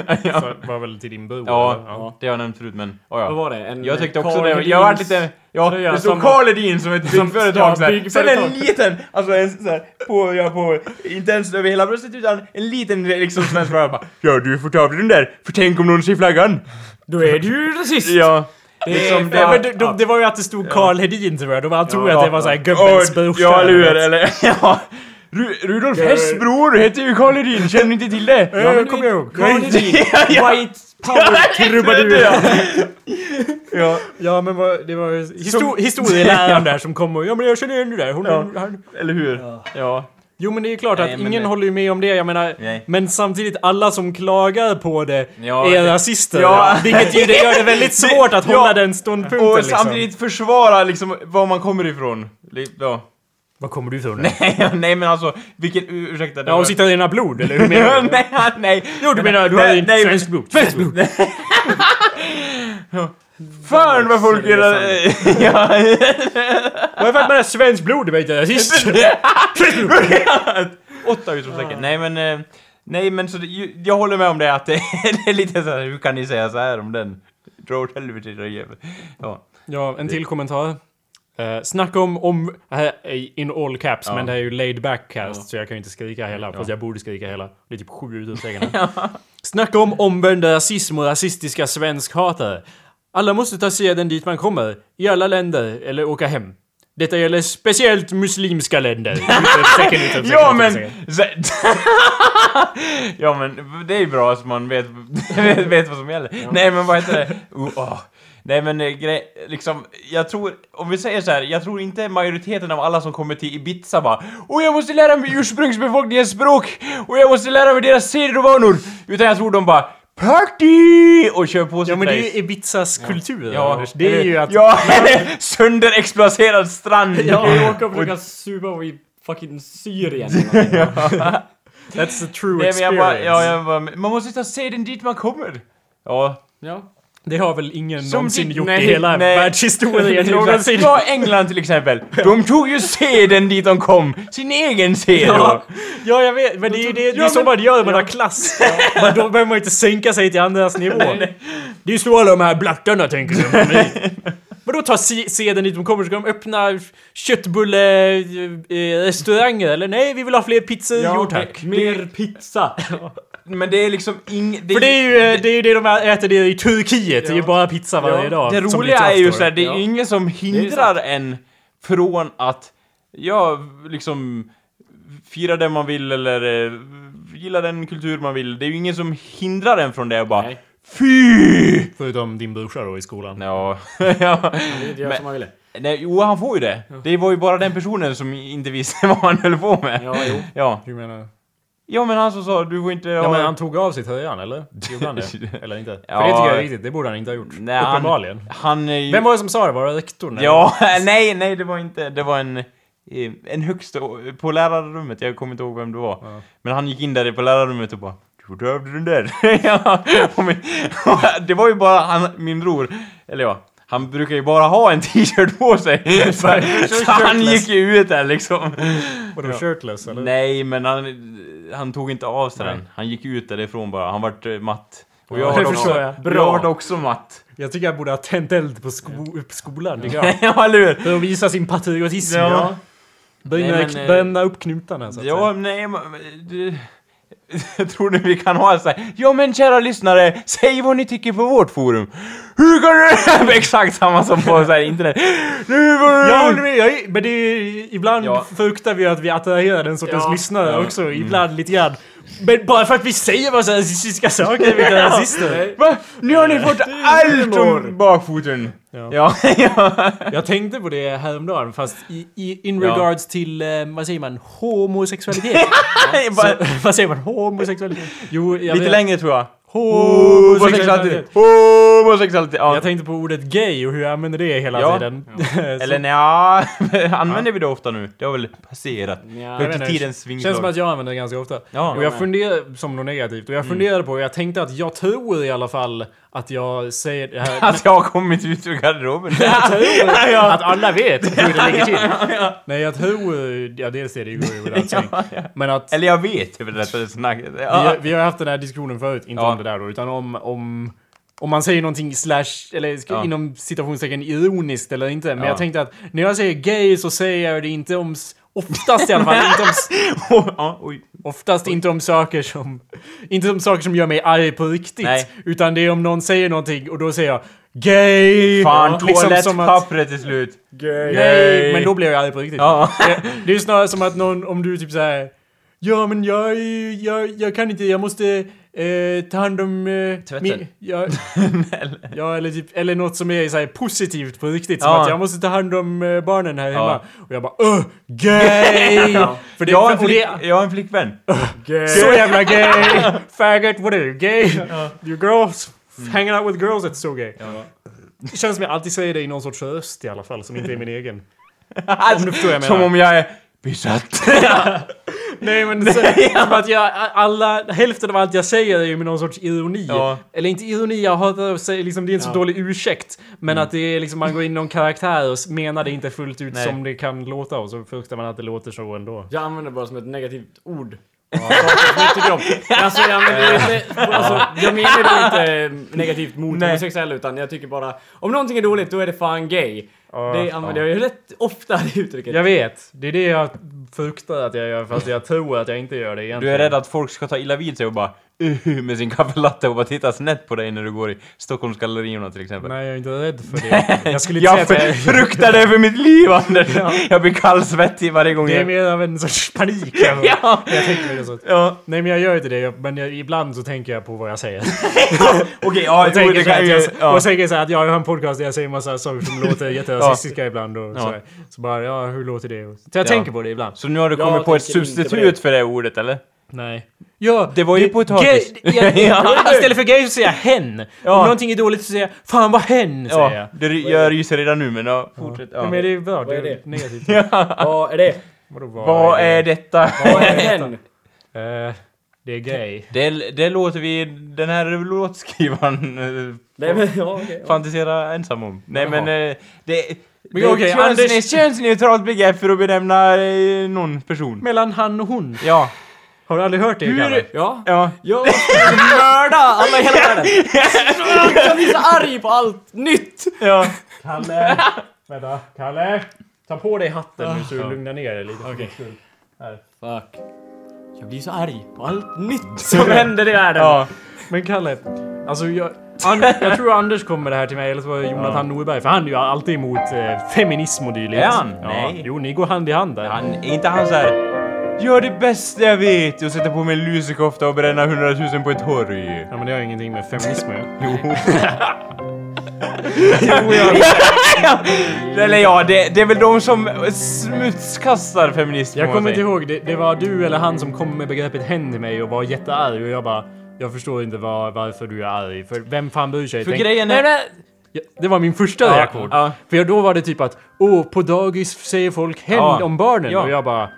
B: ja,
A: Det var väl till din bror?
B: ja,
A: eller?
B: det har jag nämnt förut men oh, ja.
F: Vad var det? En
B: Jag tyckte också
F: Carl
B: det, jag
F: Hedins-
B: var lite... Ja,
F: tröja
B: det stod
F: som-
B: Carl Hedin som ett byggföretag såhär.
F: ja,
B: Sen en
F: byggföretag.
B: liten, alltså en sån här, på, ja, på, inte ens över hela bröstet utan en liten liksom svensk flagga bara Ja du får ta av dig den där, för tänk om någon ser flaggan!
F: Då är du ju rasist!
B: Ja,
A: Liksom, det, men, de, de, det var ju att det stod Karl Hedin tror jag, de han tror att det var såhär gubbens
B: Åh,
A: brorsa.
B: Ja, eller hur?
A: eller något.
B: Eller, ja. Ru- Rudolf Hess bror heter ju Karl Hedin, känner ni inte till det?
A: Ja, men kommer jag ihåg.
F: Carl Hedin, White
B: Trubadur! Ja,
A: Ja men vad, det var ju... Histo- historieläraren där som kom och ja men jag känner igen det där. Hon,
B: Ja.
A: han,
B: eller hur? Ja.
A: jo men det är ju klart
B: Nej,
A: att
B: men
A: ingen
B: det-
A: håller ju med om det, jag menar.
B: Nej.
A: Men samtidigt alla som klagar på det
B: Ja,
A: är
B: det-
A: rasister.
B: Ja.
A: Vilket ju det gör det väldigt svårt att
B: Ja.
A: hålla den ståndpunkten
B: Och
A: liksom.
B: samtidigt försvara liksom var man kommer ifrån. Li- Ja.
A: Var kommer du ifrån?
B: Nej men alltså, vilken, ur- ursäkta. det
A: Ja,
B: var-
A: och sitter i dina blod, eller hur menar du?
B: nej, nej.
A: Jo, du menar att du har
B: Nej,
A: inte
B: nej.
A: svenskt blod? Svenskt blod!
B: Fan vad folk är... Ja,
A: Varför att man är svenskt blod, du vet jag. Rasist!
B: Åtta utropstecken. Nej men, eh, nej men så det, ju- jag håller med om det att det, det är lite så här, hur kan ni säga så här om den? Dra åt helvete era jävel. Ja.
A: Ja, en till kommentar. Uh, snacka om, om, här är in all caps, men det är ju laid back cast så jag kan ju inte skrika hela, fast jag borde skrika hela. Det är typ sju utropstecken. ja. Snacka om omvänd rasism och rasistiska svenskhatare. Alla måste ta seden dit man kommer, i alla länder, eller åka hem. Detta gäller speciellt muslimska länder. Utropstecken, utropstecken,
B: Ja men!
A: utropstecken.
B: så- ja men, det är ju bra att man vet, vet, vet vad som gäller. Nej men vad heter det? Oh, ah. Nej men eh, grej, liksom, jag tror, om vi säger så här, jag tror inte majoriteten av alla som kommer till Ibiza bara Åh jag måste lära mig ursprungsbefolkningens språk! Och jag måste lära mig deras seder och vanor! Utan jag tror de bara Party! Och kör på sitt
A: Ja men det
B: race.
A: är ju Ibizas kultur
B: Ja,
A: Anders. Det är ju att...
B: Ja, sönderexploaterad strand!
F: Ja, vi åker och försöker supa och i fucking Syrien. eller någonting.
A: That's the true
B: Nej, men jag
A: experience.
B: bara, ja, jag bara, man måste ta seden dit man kommer! Ja,
F: ja.
A: Det har väl ingen
B: Som
A: någonsin
B: typ-
A: gjort
B: nej,
A: i hela
B: nej.
A: världshistorien typ. någonsin.
B: Ta England till exempel. De tog ju seden dit de kom. Sin egen sed då.
A: Ja, jag vet. Men det är ju det, det är
B: Ja,
A: så
B: men-
A: man gör när man har klass. Men då behöver man inte sänka sig till andras nivå. Det är så alla de här blattarna tänker sig. Men nej. Men då tar se- seden dit de kommer, ska de öppna köttbulle-restauranger? Eller nej, vi vill ha fler pizzor. jo tack.
F: Mer pizza.
B: Men det är liksom ing...
A: För det är ju eh, det, är ju det de äter det i Turkiet, det är ju bara pizza varje dag.
B: det
A: som blir
B: roliga är ju
A: tufft då.
B: såhär, det är
F: Ja.
B: ju ingen som hindrar en från att, ja, liksom fira det man vill eller eh, gilla den kultur man vill. Det är ju ingen som hindrar en från det och bara
F: Nej.
B: FY!
A: Förutom din brorsa då i skolan.
B: Ja. ja.
F: Det gör som man vill.
B: Nej, jo han får ju det. Det var ju bara den personen som inte visste vad han höll på med.
F: Ja, jo.
B: Ja.
A: Hur menar
B: Ja men han som sa du får inte ha...
A: Ja men han tog av sig tröjan eller? Gjorde han det? Eller inte? För det
B: Ja.
A: tycker jag är riktigt, det borde han inte ha gjort.
B: Nej, han-
A: Uppenbarligen.
B: han är ju...
A: Vem var det som sa det? Var det rektorn? eller?
B: Ja, nej, nej det var inte, det var en... eh, En högst på lärarrummet, jag kommer inte ihåg vem det var. Men han gick in där på lärarrummet och bara Du tog av dig den där. ja, och min, det var ju bara han, min bror, eller ja, han brukar ju bara ha en t-shirt på sig. så så han gick ju ut där liksom.
A: Var de shirtless eller?
B: Nej, men han, han tog inte av sig den. Han gick ut därifrån bara. Han vart eh, matt. Och jag
A: Ja,
B: var
A: det förstår
B: också,
A: jag.
B: jag vart också matt.
A: Jag tycker jag borde ha tänt eld på sko- på skolan. tycker jag.
B: ja, eller hur?
A: För att visa sin patriotism.
B: Ja.
A: Ja. Bränna,
B: Nej, men, eh,
A: bränna upp knutarna så att
B: Ja, nej, men... du- Tror ni vi kan ha så här? Ja men kära lyssnare, säg vad ni tycker på vårt forum. Hur kan du... Exakt samma som på så här, internet. Nu var
A: säga.
B: det-
A: Jag håller med, jag, är- men det är, ju- ibland
B: Ja. Mm.
A: fruktar vi att vi attraherar den sortens
F: Ja.
A: lyssnare också, ibland lite grann. Men bara för att vi säger massa rasistiska saker, är vi inte rasister.
B: Va? Nu har ni fått allt om bakfoten. Ja. Ja,
A: Jag tänkte på det häromdagen, fast i, i, in
B: Ja.
A: regards till, eh, vad säger man, homosexualitet.
B: bara,
A: Så, vad säger man? Homosexualitet? Jo, jag
B: lite
A: vet-
B: längre tror jag.
A: Homosexualitet.
B: Homosexualitet. Homosexualitet. Ja.
A: Jag tänkte på ordet gay och hur jag använder det hela
B: Ja.
A: tiden. Så-
B: Eller nja, använder vi det ofta nu? Det har väl passerat.
F: Ja,
A: jag vet
B: Högt
A: inte.
B: i tidens svingslag.
A: Känns som att jag använder det ganska ofta.
B: Ja. Mm.
A: och jag funderar som något negativt. Och jag funderar på, jag tänkte att jag tror i alla fall att jag säger det här.
B: Att jag har kommit ut ur garderoben.
A: Jag tror att alla vet hur det ligger till. Nej, jag tror... Ja, dels är det ju överraskning. Men att...
B: Eller jag vet hur det rättare snacket.
A: Vi, har-
B: Ja.
A: vi har haft den här diskussionen förut, inte
B: Ja.
A: om det där då, utan om, om, om man säger någonting slash, eller ska-
B: Ja.
A: inom citationstecken ironiskt eller inte. Men
B: Ja.
A: jag tänkte att när jag säger gay så säger jag det inte om, s- oftast i alla fall, inte om, s-
B: Ja, oj.
A: oftast inte om saker som, inte om saker som gör mig arg på riktigt.
B: Nej.
A: Utan det är om någon säger någonting och då säger jag gay! liksom
B: Fan,
A: som att,
B: toalettpappret är slut.
A: gay! Men då blir jag arg på riktigt.
B: Ja.
A: Det- Det är snarare som att någon, om du typ så här. Ja men jag, är ju- jag, jag kan inte, jag måste eh, ta hand om... Eh,
B: Tvätten.
A: ja, ja eller typ, eller något som är så här positivt på riktigt. Som
B: Ja.
A: att jag måste ta hand om eh, barnen här hemma. Och jag bara öh, gay!
B: Ja.
A: För det,
B: Jag har en,
A: och
B: flick,
A: det
B: jag har en flickvän.
A: så jävla gay! Faggot, what are you, gay? You girls? Hanging out with girls, it's so gay. Det känns som jag alltid säger det i någon sorts röst i alla fall, som inte är min egen. Om du förstår vad jag menar.
B: Som om jag är besatt.
A: Nej men det är som att jag, alla, hälften av allt jag säger är ju med någon sorts ironi.
B: Ja.
A: Eller inte ironi, jag hatar att säga liksom, det är en så dålig ursäkt. Men att det är liksom, man går in i någon karaktär och s- menar det inte fullt ut
B: Nej.
A: som det kan låta och så fruktar man att det låter så ändå.
F: Jag använder det bara som ett negativt ord. Saker som jag tycker om. Alltså, jag, använder det inte, alltså, jag menar det inte eh, negativt mot
B: Nej.
F: homosexuella utan jag tycker bara om någonting är dåligt då är det fan gay. det använder jag ju rätt ofta det uttrycket.
A: Jag vet, det är det jag fruktar att jag gör fast jag tror att jag inte gör det egentligen.
B: Du är rädd att folk ska ta illa vid sig och bara uh, med sin kaffelatte och bara tittar snett på dig när du går i Stockholmsgallerierna till exempel.
A: Nej, jag är inte rädd för det. Jag skulle inte
B: Jag
A: säga att jag...
B: fruktar det för mitt liv Anders! Jag blir kallsvettig varje gång
A: Det är
B: jag...
A: mer av en sorts panik. Jag,
B: Ja.
A: jag tänker mig det så.
B: Ja.
A: Nej, men jag gör inte det. Jag- Men jag, ibland så tänker jag på vad jag säger.
B: Okej, ja,
A: Jag
B: jo,
A: tänker,
B: det
A: så här
B: kan
A: att
B: ju...
A: jag,
B: Ja.
A: och tänker så här att jag har en podcast där jag säger massa saker som låter jätterasistiska ibland och så,
B: Ja.
A: här. så bara, ja hur låter det? Så jag tänker på det ibland.
B: Så nu har du
F: Jag
B: kommit på ett
F: tänker inte på
B: substitut för det ordet eller?
A: Nej. Ja,
B: Det var ju potatis.
A: Gay, jag,
B: Ja.
A: Istället för gay så säger jag hen. Om någonting är dåligt så säger jag fan vad hen säger jag.
B: Ja, det ry- jag ryser redan nu men ja, fortsätt. Ja.
A: Ja. Men det är bra, det är,
F: är det?
A: negativt.
F: Vad är det?
A: Vadå, vad,
B: Vad är detta?
F: Vad är den?
A: det? Eh, det är gay.
B: Det, det låter vi den här låtskrivaren eh,
F: Nej men ja, okej. ja.
B: fantisera ensam om. Nej men eh, det...
A: Men
B: det är
A: okej,
B: köns-
A: Anders-
B: det är ett könsneutralt begrepp för att benämna eh, någon person.
A: Mellan han och hon.
B: Ja.
A: Har du aldrig hört det Kalle?
F: Ja.
B: Ja.
F: Jag ska mörda alla i hela världen! Jag blir så arg på allt nytt!
B: Ja.
A: Kalle! Vänta, Kalle! Ta på dig hatten nu så du lugnar ner dig lite. Okej.
F: Fuck. Jag blir så arg på allt nytt som händer i världen.
B: ja.
A: Men Kalle, alltså jag... And, jag tror Anders kom med det här till mig, eller så var det Jonathan Norberg, för han är ju alltid emot eh, feminism och dylikt.
B: Är han?
A: Ja.
B: Nej.
A: Jo, ni går hand i hand där.
B: Han, är inte han såhär... Gör det bästa jag vet och sätta på mig en lusekofta och bränna hundratusen på ett torg.
A: Ja, men det har ju ingenting med feminism att göra.
B: Jo. Eller ja, det, det är väl de som smutskastar feminism
A: Jag
B: får man
A: kommer inte
B: säga.
A: ihåg, det, det var du eller han som kom med begreppet hen till mig och var jättearg och jag bara... Jag förstår inte var, varför du är arg, för vem fan bryr sig?
B: För
A: Tänk-
B: grejen
A: Nej,
B: är...
A: nej. Ja, Det var min första
B: Ja,
A: reaktion.
B: ja.
A: För jag, då var det typ att åh, på dagis säger folk hen
B: Ja,
A: om barnen
B: ja.
A: och jag bara...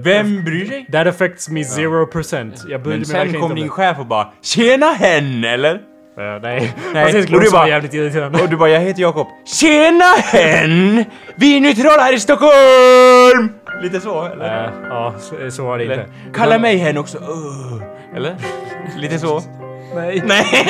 B: Vem bryr sig?
A: That affects me 0%. Jag brydde
B: Men
A: mig
B: sen
A: verkligen
B: kom
A: inte
B: din
A: om
B: chef och bara Tjena hen eller?
A: det. Ja, nej.
B: Eh, Nej,
A: Fast det skulle
B: och du
A: också vara
B: bara-
A: jävligt irriterande.
B: Och du bara jag heter Jakob Tjena hen! Vi är neutrala här i Stockholm! Lite så eller?
A: Eh, ja, så, så var det inte.
B: eller Kalla mig hen också Öh. Eller? Lite så?
A: Nej.
B: Nej!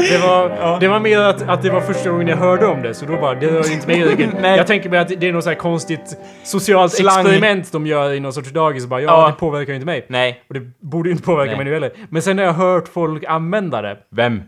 A: Det var, det var mer att, att det var första gången jag hörde om det, så då bara, det rör ju inte mig i ryggen.
B: Nej.
A: Jag tänker mig att det är något så här konstigt socialt
B: Slang.
A: experiment de gör i någon sorts dagis. och Bara, ja,
B: Ja.
A: det påverkar ju inte mig.
B: Nej.
A: Och det borde ju inte påverka
B: Nej.
A: mig nu heller. Men sen har jag hört folk använda det.
B: Vem?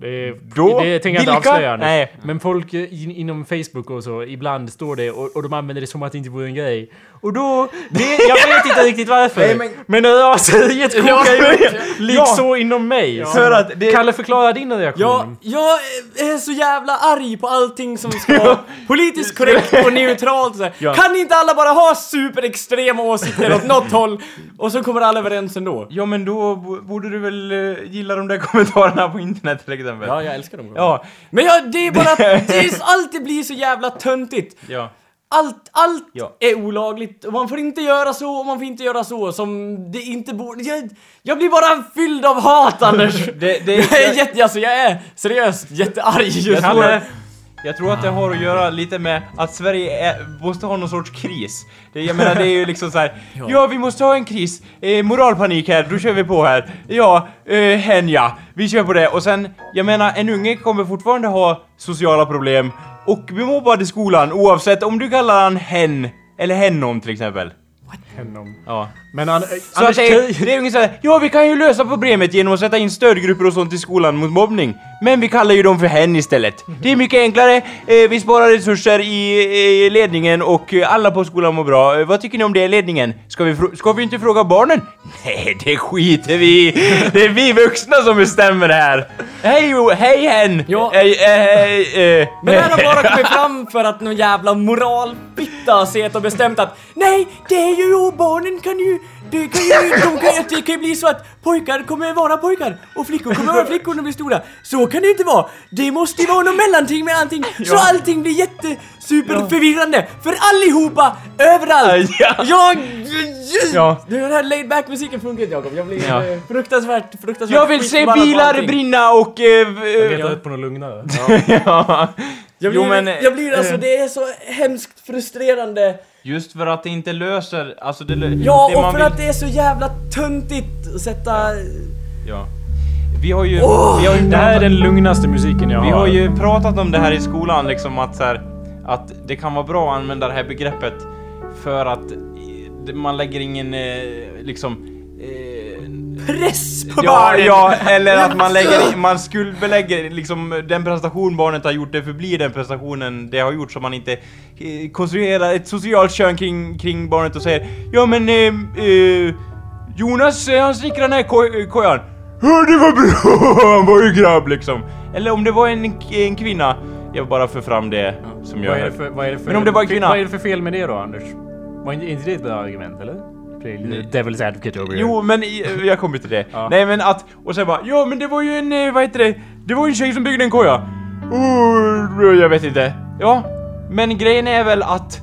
A: Det,
B: Då?
A: det tänker jag inte
B: Vilka?
A: avslöja nu.
B: Nej.
A: Men folk eh, in, inom Facebook och så, ibland står det och, och de använder det som att det inte vore en grej. Och då, det, jag vet inte riktigt varför. men men raseriet kokar ju ut, likså inom mig.
B: För att det-
A: Kalle, förklara din reaktion.
B: Mm.
F: Jag, jag är så jävla arg på allting som ska vara politiskt korrekt och neutralt och så här. Kan inte alla bara ha superextrema åsikter åt något håll och så kommer alla överens ändå?
B: Ja men då bo- borde du väl eh, gilla de där kommentarerna på internet till exempel?
F: Ja, jag älskar dem.
B: Ja.
F: Men jag, det är bara att det är, så- allt det blir så jävla töntigt.
B: Ja.
F: Allt, allt
B: Ja.
F: är olagligt och man får inte göra så och man får inte göra så som det inte borde... Jag, jag blir bara fylld av hat Anders!
B: Det, det,
F: jag är jätte, alltså jag är seriöst jättearg just
B: Jag tror,
F: nu.
B: jag tror att det har att göra lite med att Sverige är, måste ha någon sorts kris. Det, jag menar det är ju liksom så här. ja. vi måste ha en kris. Eh, moralpanik här, då kör vi på här. Ja, eh, hen ja. Vi kör på det. Och sen, jag menar en unge kommer fortfarande ha sociala problem och bli mobbad i skolan oavsett om du kallar han hen eller hennom till exempel.
A: Hennom.
B: Ja.
A: Men an,
B: Så att eh, det, är- det är ungefär såhär, ja vi kan ju lösa problemet genom att sätta in stödgrupper och sånt i skolan mot mobbning. Men vi kallar ju dem för hen istället. Det är mycket enklare, eh, vi sparar resurser i eh, ledningen och eh, alla på skolan mår bra. Eh, vad tycker ni om det ledningen? Ska vi, frå- ska vi inte fråga barnen? Nej, det skiter vi i. Det är vi vuxna som bestämmer det här. Hej, o- hej hen!
F: Ja.
B: Eh, eh, eh, eh.
F: Men det här har bara kommit fram för att någon jävla moralbitta sett och bestämt att Nej, det är ju och barnen kan ju... Det kan ju, de kan, det kan ju bli så att pojkar kommer vara pojkar och flickor kommer vara flickor när de blir stora. Så kan det inte vara. Det måste ju vara något mellanting med allting. Så allting blir jättesuperförvirrande för allihopa överallt.
B: Ja.
F: Jag...
B: Ja.
F: Den här laid back musiken funkar inte Jakob. Jag blir
B: Ja.
F: eh, fruktansvärt, fruktansvärt
B: Jag vill se
F: skitförbannad på
B: bilar
F: allting.
B: brinna och... Eh, eh,
A: Leta upp på något lugnare.
B: ja.
F: Jag blir,
B: Jo, men,
F: jag blir alltså,
B: eh,
F: det är så hemskt frustrerande.
B: Just för att det inte löser, alltså det lö-
F: Ja,
B: det
F: och
B: man
F: för
B: vill-
F: att det är så jävla töntigt att sätta...
B: Ja. Vi har ju... vi har ju
A: Det här är den lugnaste musiken jag
B: Vi har
A: har
B: ju pratat om det här i skolan liksom att så här, att det kan vara bra att använda det här begreppet för att eh, det- man lägger ingen eh, liksom eh,
F: press på
B: Ja,
F: barnen!
B: ja, eller att man lägger man skuldbelägger liksom den prestation barnet har gjort, det förblir den prestationen det har gjort så man inte eh, konstruerar ett socialt kön kring, kring barnet och säger Ja men eh, eh, Jonas eh, han snickrar den här ko- eh, kojan Ja det var bra, han var ju grabb liksom Eller om det var en, en kvinna Jag bara för fram det som jag
A: Vad är det för, vad är det för,
B: Men om det var en kvinna?
A: Vad är det för fel med det då, Anders? Var inte inte det ett bra argument, eller? Det är lite Devil's advocate over here.
B: Jo men i- jag kommer till det. Nej men att, och sen bara ja men det var ju en, eh, vad heter det, det var ju en tjej som byggde en koja. Oh, jag vet inte. Ja, men grejen är väl att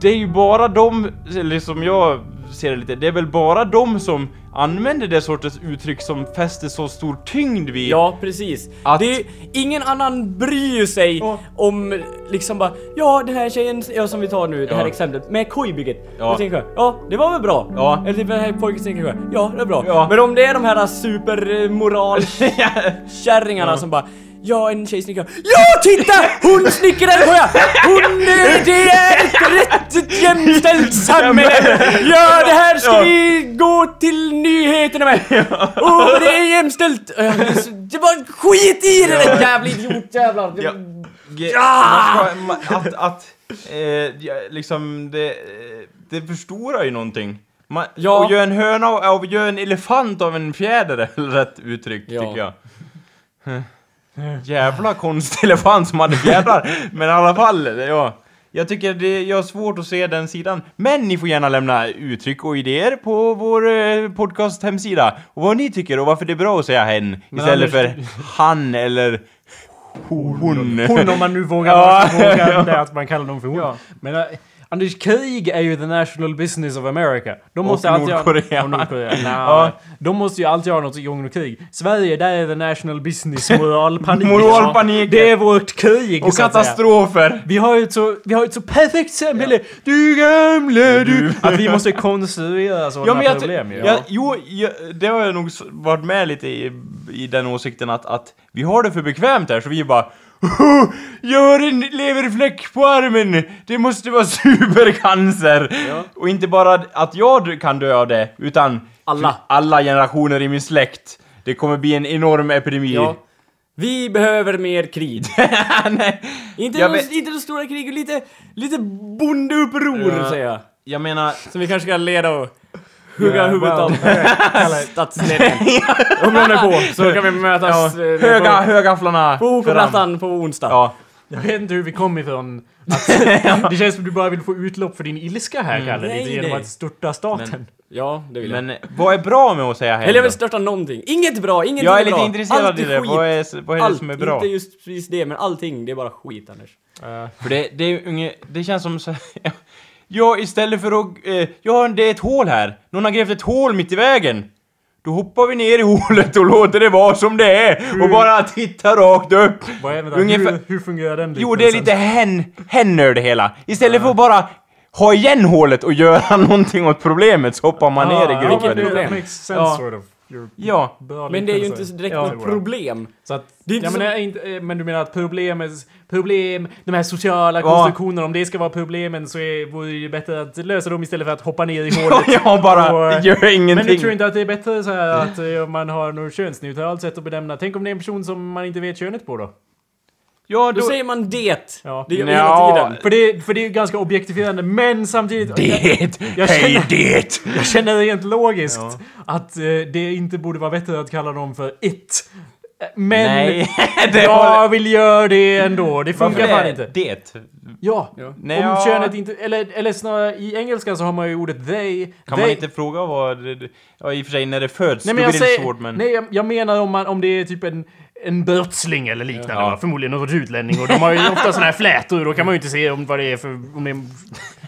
B: det är ju bara de, eller som jag ser det lite, det är väl bara de som använder det sortens uttryck som fäster så stor tyngd vid.
F: Ja, precis.
B: Att-
F: Det är, ingen annan bryr sig
B: Ja.
F: om liksom bara Ja, den här tjejen, ja, som vi tar nu, det här
B: Ja.
F: exemplet med kojbygget.
B: Ja.
F: Ja. Tänker, jag, ja, det var väl bra?
B: Ja.
F: Eller typ den här pojken tänker jag, ja, det var bra.
B: Ja.
F: Men om det är de här supermoralkärringarna som bara Ja, en tjej snickrar. Ja, titta! Hon snickrar en koja! Hon, eh, det är ett rätt jämställt samhälle! Ja, det här ska
B: Ja.
F: vi gå till nyheterna med! Åh, det är jämställt! Eh, Det var skit i det där jävla idiot jävlar!
B: Ja. Man ska, man, att, att eh, ja, liksom det, eh, det förstorar ju någonting. Man,
F: Ja.
B: Och gör en höna av, av, gör en elefant av en fjäder, är rätt uttryck
F: Ja.
B: tycker jag. Huh. Jävla konstig elefant som hade fjädrar. Men i alla fall, ja. Jag tycker det, jag har svårt att se den sidan. Men ni får gärna lämna uttryck och idéer på vår eh, podcast hemsida. Och vad ni tycker och varför det är bra att säga hen istället för han eller hon.
A: Hon om man nu vågar,
B: Ja.
A: vågar det att man kallar dem för hon. Men eh, Anders, krig är ju the national business of America. De måste alltid ha-
B: Nordkorea.
A: Och Nordkorea. Nja,
B: Ja.
A: De måste ju alltid ha något i gång och krig. Sverige, där är the national business moralpanik.
B: Moralpanik.
A: Det är vårt krig,
B: Och
A: så att säga.
B: katastrofer!
A: Vi har ju ett så, vi har ett så perfekt samhälle! Du gamle du! Att vi måste konstruera sådana
B: Ja, men jag,
A: problem ju.
B: jag, jo, jag, det har jag nog s- varit med lite i, i den åsikten att, att vi har det för bekvämt här så vi bara Jag har en leverfläck på armen! Det måste vara supercancer! Och inte bara att jag d- kan dö av det, utan
F: Alla.
B: alla generationer i min släkt. Det kommer bli en enorm epidemi.
F: Ja. Vi behöver mer krig. Inte,
B: Jag
F: de,
B: vet-
F: inte de stora krig, lite, lite bondeuppror
B: Ja.
F: säger jag.
B: Jag menar,
F: Som vi kanske ska leda och hugga huvudet av statsledningen. Om någon är på så kan vi mötas eh,
B: höga, högafflarna!
F: på OK
B: för hand.
F: Plattan på onsdag.
B: Ja.
A: Jag vet inte hur vi kom ifrån att det känns som du bara vill få utlopp för din ilska här Kalle,
F: Nej,
A: lite genom
F: nej.
A: att störta staten.
F: Ja, det vill jag.
B: Men eh, vad är bra med att säga hej
F: Eller jag
B: då?
F: vill störta någonting. Inget bra, ingenting
B: Jag är
F: är bra.
B: lite intresserad
F: Allt
B: i
F: är
B: det.
F: skit.
B: Vad är, vad är det
F: Allt,
B: som är bra?
F: inte just precis det, men allting, det är bara skit Anders.
B: För det, det är ju unge, det känns som så Ja, istället för att... Eh, ja, det är ett hål här. Någon har grävt ett hål mitt i vägen. Då hoppar vi ner i hålet och låter det vara som det är och bara tittar rakt upp.
A: Mm. Vad är det där?
B: Ungefär-
A: hur, Liksom. hur fungerar den
B: Jo, det är lite hen, hennör det hela. Istället för att bara ha igen hålet och göra någonting åt problemet så hoppar man ner i
A: Ja, men det
B: gropen.
A: that
F: problem.
A: makes sense
B: Ja.
A: sort of. You're
B: Ja.
A: bra
F: Men det är ju inte
A: liknelse.
F: så direkt
A: Ja.
F: något problem.
A: Så att,
F: Det är inte
A: ja, men,
F: så-
A: är inte, eh, men du menar att problemet, problem, de här sociala konstruktionerna, om det ska vara problemen så är, vore det ju bättre att lösa dem istället för att hoppa ner i hålet.
B: Jag bara
A: Och- eh,
B: gör
A: Men du
B: ingenting.
A: tror inte att det är bättre så här att eh, om man har något könsneutralt sätt att benämna? Tänk om det är en person som man inte vet könet på då?
B: Ja,
F: Då
B: då...
F: säger man det.
A: Ja.
F: Det gör vi
B: Nja.
F: hela tiden.
A: För det, för det är ju ganska objektifierande, men samtidigt...
E: Det!
A: Jag
E: Hej
A: känner-
E: det!
A: Jag känner rent logiskt att eh, det inte borde vara bättre att kalla dem för it. Eh, Men
B: Nej. det
A: jag vill göra det ändå. Det funkar fan inte.
B: Det?
A: Ja.
B: Nej,
A: Om
B: ja.
A: könet inte... Eller, eller snarare, i engelskan så har man ju ordet they.
B: Kan
A: they,
B: man inte fråga vad... Ja, i och för sig när det föds,
A: Nej,
B: då
A: men
B: blir
A: jag,
B: det lite
A: säger,
B: svårt men...
A: nej, jag, jag menar om, man, om det är typ en, en brottsling eller liknande.
B: Ja.
A: Va? Förmodligen någon utlänning. Och de har ju ofta såna här flätor. Då kan man ju inte se om vad det är för... Om det är,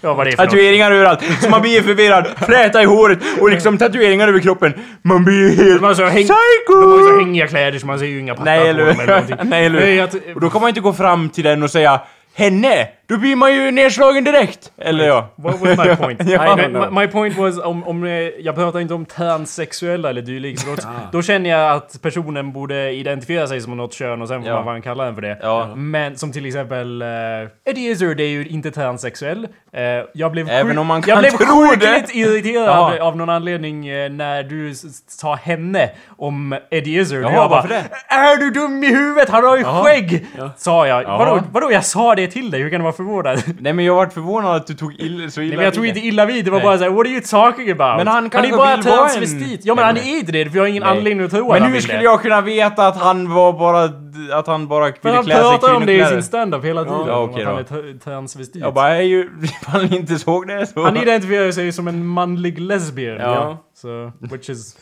A: ja, vad det är för något.
B: Tatueringar överallt, så man blir förvirrad, fläta i håret och liksom tatueringar över kroppen. Man blir helt
A: De har så häng- De har ju så
B: psycho!
A: hängiga kläder så man ser ju inga pattar
B: Nej
A: på dem eller
B: eller
A: någonting.
B: hur? Nej eller
A: Nej,
B: hur?
A: att,
B: Och då kan man inte gå fram till den och säga Henne! då blir man ju nedslagen direkt! Eller ja.
A: What was my point?
B: Ja.
A: I, my, my point was om, om eh, jag pratar inte om transsexuella eller dylikt. så Då,
B: Ah.
A: då känner jag att personen borde identifiera sig som något kön och sen får
B: Ja.
A: man fan kalla den för det.
B: Ja.
A: Men som till exempel eh, Eddie Izzard är ju inte transsexuell. Eh, jag blev
B: Även
A: sjuk-
B: om man
A: jag
B: kan
A: blev
B: tro
A: sjukligt
B: det.
A: irriterad
B: Ja.
A: av någon anledning eh, när du s- s- sa henne om Eddie Izzard.
B: Ja,
A: Och jag bara,
B: varför
A: Är du dum i huvudet? Han har ju skägg! Sa jag.
B: Ja.
A: Vadå, vadå, jag sa det till dig? Hur kan du vara förvånad?
B: Nej men jag vart förvånad att du tog illa, så illa
A: Nej, men jag tog
B: vid
A: inte
B: det.
A: illa vid, det var
B: Nej.
A: bara såhär “What are you talking about?”
B: Men han
A: han är ju
B: kanske
A: bara
B: vill vara en-
A: transvestit. Ja men
B: Nej,
A: han
B: nej.
A: är inte det, för jag har ingen
B: Nej.
A: anledning att tro att
B: Men
A: han
B: hur
A: vill
B: skulle
A: det.
B: jag kunna veta att han var bara... Att han bara
A: För
B: ville
A: han
B: klä sig i
A: pratar om det i sin
B: kvinnokläder?
A: standup hela tiden,
B: Ja,
A: om
B: okej
A: att han
B: då.
A: är tra- transvestit.
B: Jag bara, jag är ju... Ifall ni inte såg det så...
A: Han identifierar sig som en manlig lesbian.
B: Ja.
A: So, which is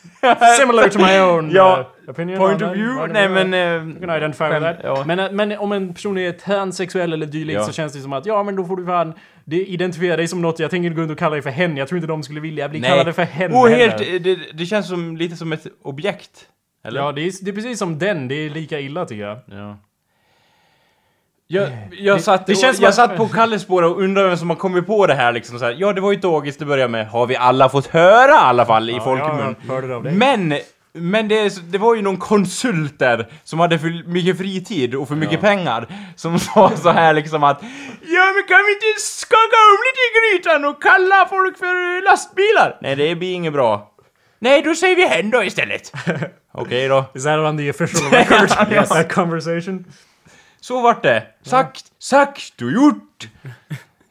A: similar to my own
B: Ja.
A: uh, opinion.
B: Point
A: on
B: of
A: that.
B: view?
A: Whatever.
B: Nej men...
A: You
B: eh,
A: can identify with
B: skämt,
A: that.
B: ja.
A: Men, eh, men om en person är transsexuell eller dylikt
B: Ja.
A: så känns det som att ja men då får du fan det- identifiera dig som något. Jag tänker inte gå runt och kalla dig för hen. Jag tror inte de skulle vilja bli kallade för hen
B: Och
A: heller.
B: Oh, helt, det, det känns som, lite som ett objekt. Eller?
A: Ja, det är, det är precis som den. Det är lika illa tycker jag.
B: Ja. Jag, jag, satt,
A: Eh, det känns som
B: jag
A: att-
B: satt på Kalles spår och undrade vem som har kommit på det här liksom så här. Ja, det var ju dagis till att börja med. Har vi alla fått höra i alla fall i folkmun?
A: jag hörde det av dig.
B: Men, men det, är så- det var ju någon konsult där som hade för mycket fritid och för mycket pengar som sa så här liksom att Ja men kan vi inte skaka om lite i grytan och kalla folk för eh, lastbilar? Nej det blir inget bra. Nej då säger vi hen då istället. Okej då.
A: Is that on the official record? yes. That conversation?
B: Så vart det. Sagt, sagt och gjort.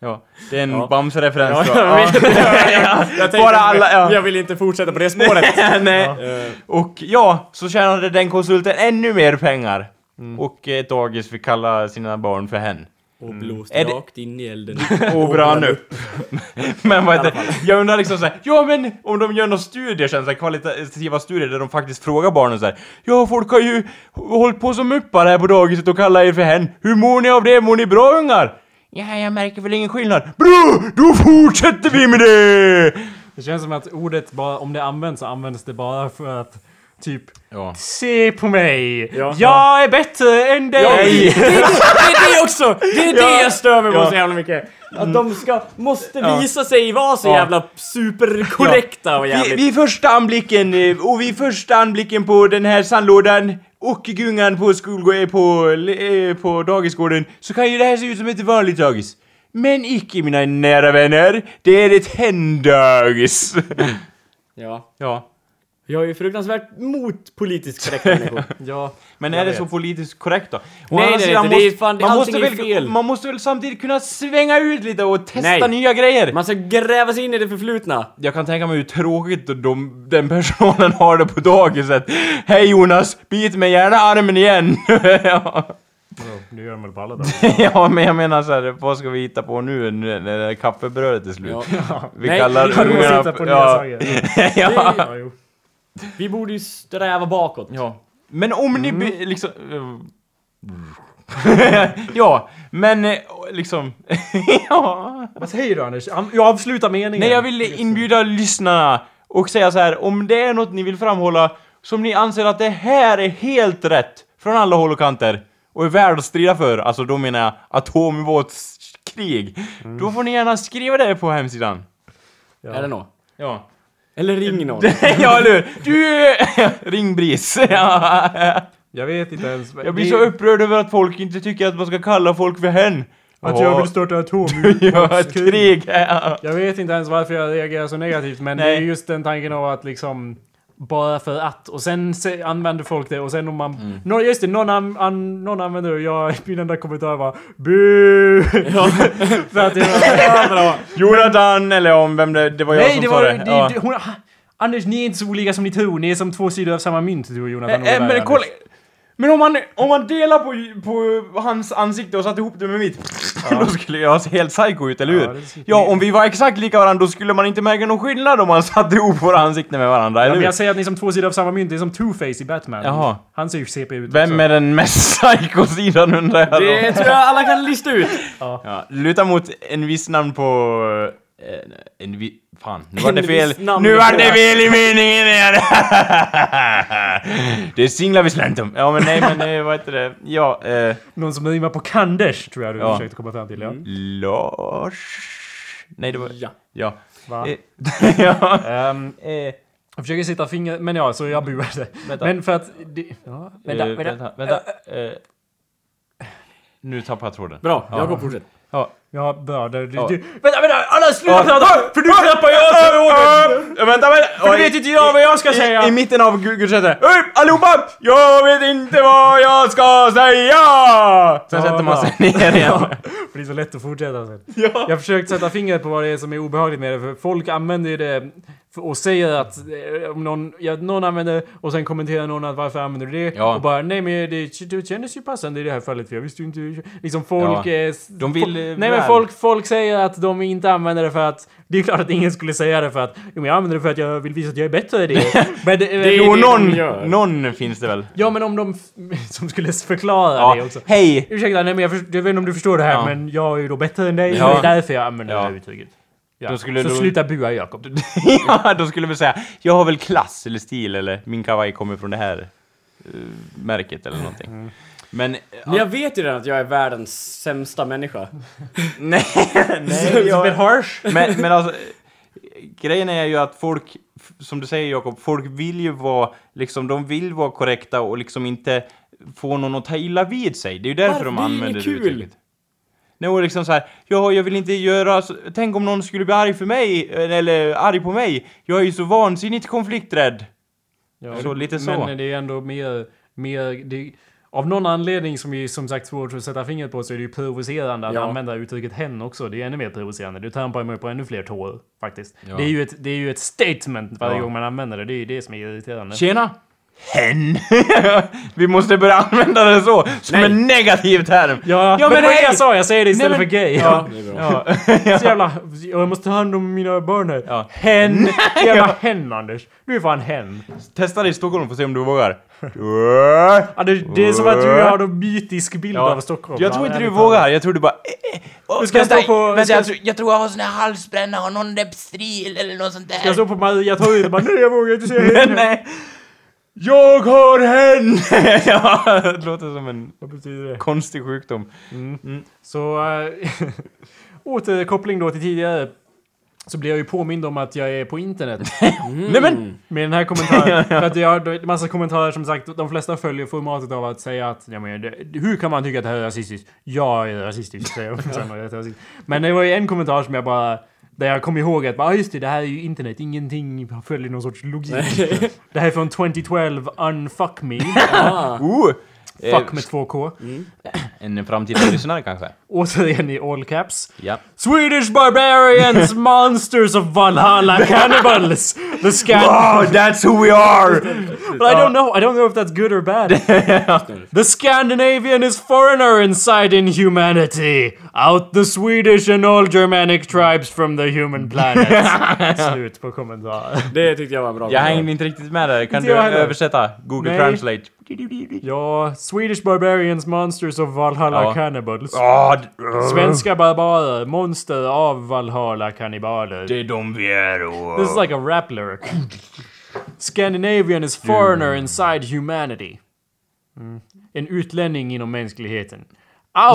B: Ja, det är en Bamse-referens då.
F: Jag
B: Bara alla, ja. Mm.
F: Jag vill inte fortsätta på det spåret.
B: Nej. Eh. Och ja, så tjänade den konsulten ännu mer pengar. Och ett dagis fick kalla sina barn för hen.
F: Och blåst
B: Är det-
F: rakt in i elden.
B: Och brann upp. men vad heter det? Jag undrar liksom såhär, ja men om de gör några studier sen, så här, kvalitativa studier där de faktiskt frågar barnen såhär Ja folk har ju hållit på som muppar här på dagiset och kallar er för hen. Hur mår ni av det? Mår ni bra ungar? Ja, jag märker väl ingen skillnad. Bra! Då fortsätter vi med det!
A: Det känns som att ordet, bara, om det används så används det bara för att typ
B: Ja.
A: Se på mig! Jag är bättre än dig!
B: Nej!
F: Det är det också! Det är det jag stör mig på så jävla mycket. Att de ska, måste visa sig vara så jävla superkorrekta och
B: Vi,
F: jävligt...
B: vid första anblicken, eh, och vid första anblicken på den här sandlådan och gungan på skolgården, på, eh, på dagisgården, så kan ju det här se ut som ett vanligt dagis. Men icke mina nära vänner, det är ett hen-dagis.
F: Ja.
B: ja.
F: Jag är ju fruktansvärt mot politiskt korrekta människor.
A: Ja.
B: Men är det så politiskt korrekt då? Å
F: Nej,
B: andra
F: det är
B: sidan
F: inte. Det är fan-
B: man,
F: allting
B: måste väl,
F: är fel.
B: man måste väl samtidigt kunna svänga ut lite och testa
F: Nej.
B: nya grejer?
F: Man ska gräva sig in i det förflutna.
B: Jag kan tänka mig hur tråkigt de, den personen har det på dagiset. Hej Jonas, bit mig gärna armen igen! ja.
A: Nu gör de väl på alla dagar.
B: ja, men jag menar så här, vad ska vi hitta på nu när, när kaffebrödet är slut? Vi
F: Nej,
B: kallar
F: vi kan
A: Du
B: ungarna-
A: måste hitta på nya
B: ja.
A: saker.
B: ja.
A: Ja, jo.
F: Vi borde ju sträva bakåt.
B: ja. Men om
A: Mm.
B: ni be, liksom... eh, ja, men eh, liksom... ja.
A: Vad säger du Anders? Am- Jag avslutar meningen.
B: Nej, jag vill inbjuda lyssnarna och säga så här, om det är något ni vill framhålla som ni anser att det här är helt rätt från alla håll och kanter och är värd att strida för, alltså då menar jag atomubåtskrig, då får ni gärna skriva det på hemsidan.
F: Eller nå.
B: Ja.
F: Eller ring någon.
B: ja, eller hur? Du... Ring BRIS. Ja.
A: Jag vet inte ens.
B: Jag blir så upprörd över att folk inte tycker att man ska kalla folk för hen.
A: Att jag vill starta
B: Ja, ett
A: atomubåtskrig.
B: krig. Ja.
A: Jag vet inte ens varför jag reagerar så negativt, men det
B: Nej.
A: är just den tanken av att liksom bara för att och sen se, använder folk det och sen om man...
B: Mm.
A: Nå, just det, någon, an, an, någon använder det och jag, min enda kommentar var BU! för att jag,
B: Jonathan, eller om vem det, det var jag
A: nej,
B: som
A: det
B: sa
A: var...
B: det.
A: Det,
B: Ja.
A: det, hon, ha, Anders, ni är inte så olika som ni tror. Ni är som två sidor av samma mynt, du och Jonathan.
B: Äh,
A: Åberg,
B: men
A: Anders.
B: kolla. Men om man, om man delar på, på hans ansikte och satte ihop det med mitt, då skulle jag se helt psycho ut, eller hur?
A: Ja,
B: Ja,
A: det-
B: om vi var exakt lika varandra, då skulle man inte märka någon skillnad om man satte ihop våra ansikten med varandra,
A: Ja,
B: eller
A: men
B: hur?
A: jag säger att ni är som två sidor av samma mynt. Det är som two-face i Batman.
B: Jaha.
A: Han ser ju CP ut
B: Vem är den mest psycho-sidan undrar jag då?
F: Det tror jag alla kan lista ut.
B: Ja, luta mot en viss namn på En, en vi... Fan, nu var det fel.
F: viss namn-
B: Nu var det fel i meningen igen! det singlar vi slant om. Ja men nej men eh, vad heter det? Ja, eh...
A: Någon som rimmar på Kanders tror jag du
B: Ja. Mm.
A: försökte komma fram till. Ja.
B: Lars... Nej det var...
F: Ja.
B: Ja.
A: Va?
B: Eh, ja.
A: Ehm, eh, jag försöker sitta finger... Men ja, så jag buade.
B: Vänta.
A: Men för att... Det, ja, vänta,
B: Eh,
A: vänta.
B: vänta, vänta. Eh, nu tappar jag tråden.
F: Bra, Jakob fortsätt.
A: Ja, bröder. Du,
B: Ja.
A: du, vänta, vänta! Alla sluta
B: Ja.
A: prata! För du tappar jag tråden!
B: Ja, Eh, vänta, vänta!
A: För du vet inte jag vad jag ska säga! Eh,
B: I, I mitten av Gu- Gudstjänsten. Hej allihopa! Jag vet inte vad jag ska säga! Sen
A: Ja,
B: sätter man
A: bra.
B: sig ner igen.
A: För det är så lätt att fortsätta sen. Jag har försökt sätta fingret på vad det är som är obehagligt med det, för folk använder ju det för- och säger att eh, om någon, ja, någon använder det och sen kommenterar någon att varför använder du det?
B: Ja.
A: Och bara nej men det, det kändes ju passande i det här fallet för jag visste ju inte. Liksom folk...
B: Ja.
A: eh, s-
B: De vill,
A: fo-
B: eh,
A: Nej men
B: väl.
A: folk, folk säger att de inte använder det för att det är klart att ingen skulle säga det för att jo, men jag använder det för att jag vill visa att jag är bättre i det. men, det är
B: Jo,
A: de
B: någon,
A: gör.
B: någon finns det väl?
A: Ja men om de f- som skulle förklara det
B: Ja.
A: också.
B: Hej!
A: Ursäkta, nej, men jag, först- jag vet inte om du förstår det här,
B: Ja.
A: men jag är ju då bättre än dig.
B: Ja.
A: Det är därför jag använder
B: Ja.
A: det här uttrycket. Ja.
B: Då skulle
A: så
B: du-
A: sluta bua Jakob.
B: ja, då skulle vi säga, jag har väl klass eller stil eller min kavaj kommer från det här eh, märket eller någonting. Men... eh,
F: Men jag vet ju redan att jag är världens sämsta människa.
B: Nej, nej. jag- Men, men alltså, eh, grejen är ju att folk, f- som du säger Jakob, folk vill ju vara, liksom, de vill vara korrekta och liksom inte få någon att ta illa vid sig. Det är ju därför de
F: Varför? Det är
B: använder
F: inget
B: det
F: kul.
B: uttrycket. Nej, och liksom så här, ja, jag vill inte göra, så, tänk om någon skulle bli arg för mig, eller arg på mig. Jag är ju så vansinnigt konflikträdd. så lite så.
A: Men eh, det är ju ändå mer... mer det, av någon anledning som är som sagt svårt att sätta fingret på så är det ju provocerande att
F: Ja.
A: använda uttrycket hen också. Det är ännu mer provocerande. Du trampar mig på ännu fler tår faktiskt.
B: Ja.
A: Det, är ju ett, det är ju ett statement varje
B: Ja.
A: gång man använder det. Det är ju det som är irriterande.
B: Tjena! Hen! Vi måste börja använda det så, som en negativ term.
A: Ja, men
B: Ja, men
A: det var
B: hej!
A: det jag sa, jag säger det istället
B: Nej, men-
A: för gay.
B: Ja, ja.
A: Så jävla, jag måste ta hand om mina barn här.
B: Ja.
A: Hen! Jävla hen Anders. Du är fan hen.
B: Testa det i Stockholm, får se om du vågar.
A: Ja, det, det är som att du har en mytisk bild av Stockholm.
B: Jag tror inte du
A: ärligt
B: vågar, jag tror du bara... eh, eh, åh,
A: ska jag
B: vänta,
A: stå på-
B: vänta,
A: ska jag-
B: jag, tror, jag tror jag har sån här halsbränna och någon
H: stril eller något sånt där.
A: Jag såg på Maria Torget och bara nej jag vågar inte säga
B: Men
A: hen.
B: nej! Jag har hen! ja, det låter som en
A: Vad betyder det?
B: konstig sjukdom.
A: Så äh, återkoppling då till tidigare. Så blir jag ju påmind om att jag är på internet.
F: Mm.
B: Nej men!
A: Med den här kommentaren. För att jag har då en massa kommentarer som sagt. De flesta följer formatet av att säga att ja, men, det, hur kan man tycka att det här är rasistiskt? Jag är rasistisk säger de. Sen var jag rasist. Men det var ju en kommentar som jag bara där jag kom ihåg att ah, just det, det här är ju internet, ingenting följer någon sorts logik. det här är från 2012, unfuck me.
F: Ah.
B: Oh! Eh,
A: Fuck med 2K.
B: En framtida lyssnare kanske?
A: Återigen i all caps.
B: Ja.
A: Swedish barbarians, monsters of Valhalla, cannibals! The scan...
B: Oh, that's who we are!
A: But I don't know. I don't know if that's good or bad. the Scandinavian is foreigner inside inhumanity. Out the Swedish and all Germanic tribes from the human planet. Slut på kommentar.
F: Det tyckte jag var en
B: Jag
F: bra kommentar.
B: hängde inte riktigt med där, kan
A: Inte
B: du
A: jag heller.
B: översätta? Google
A: Nej.
B: translate.
A: Ja, Swedish barbarians, monsters of Valhalla
B: Ja.
A: cannibals.
B: Ah, d- ah,
A: Svenska barbarer, monster av Valhalla kannibaler.
B: det är de vi är och...
A: This is like a rap lyric. Scandinavian is foreigner inside humanity. Mm. En utlänning inom mänskligheten.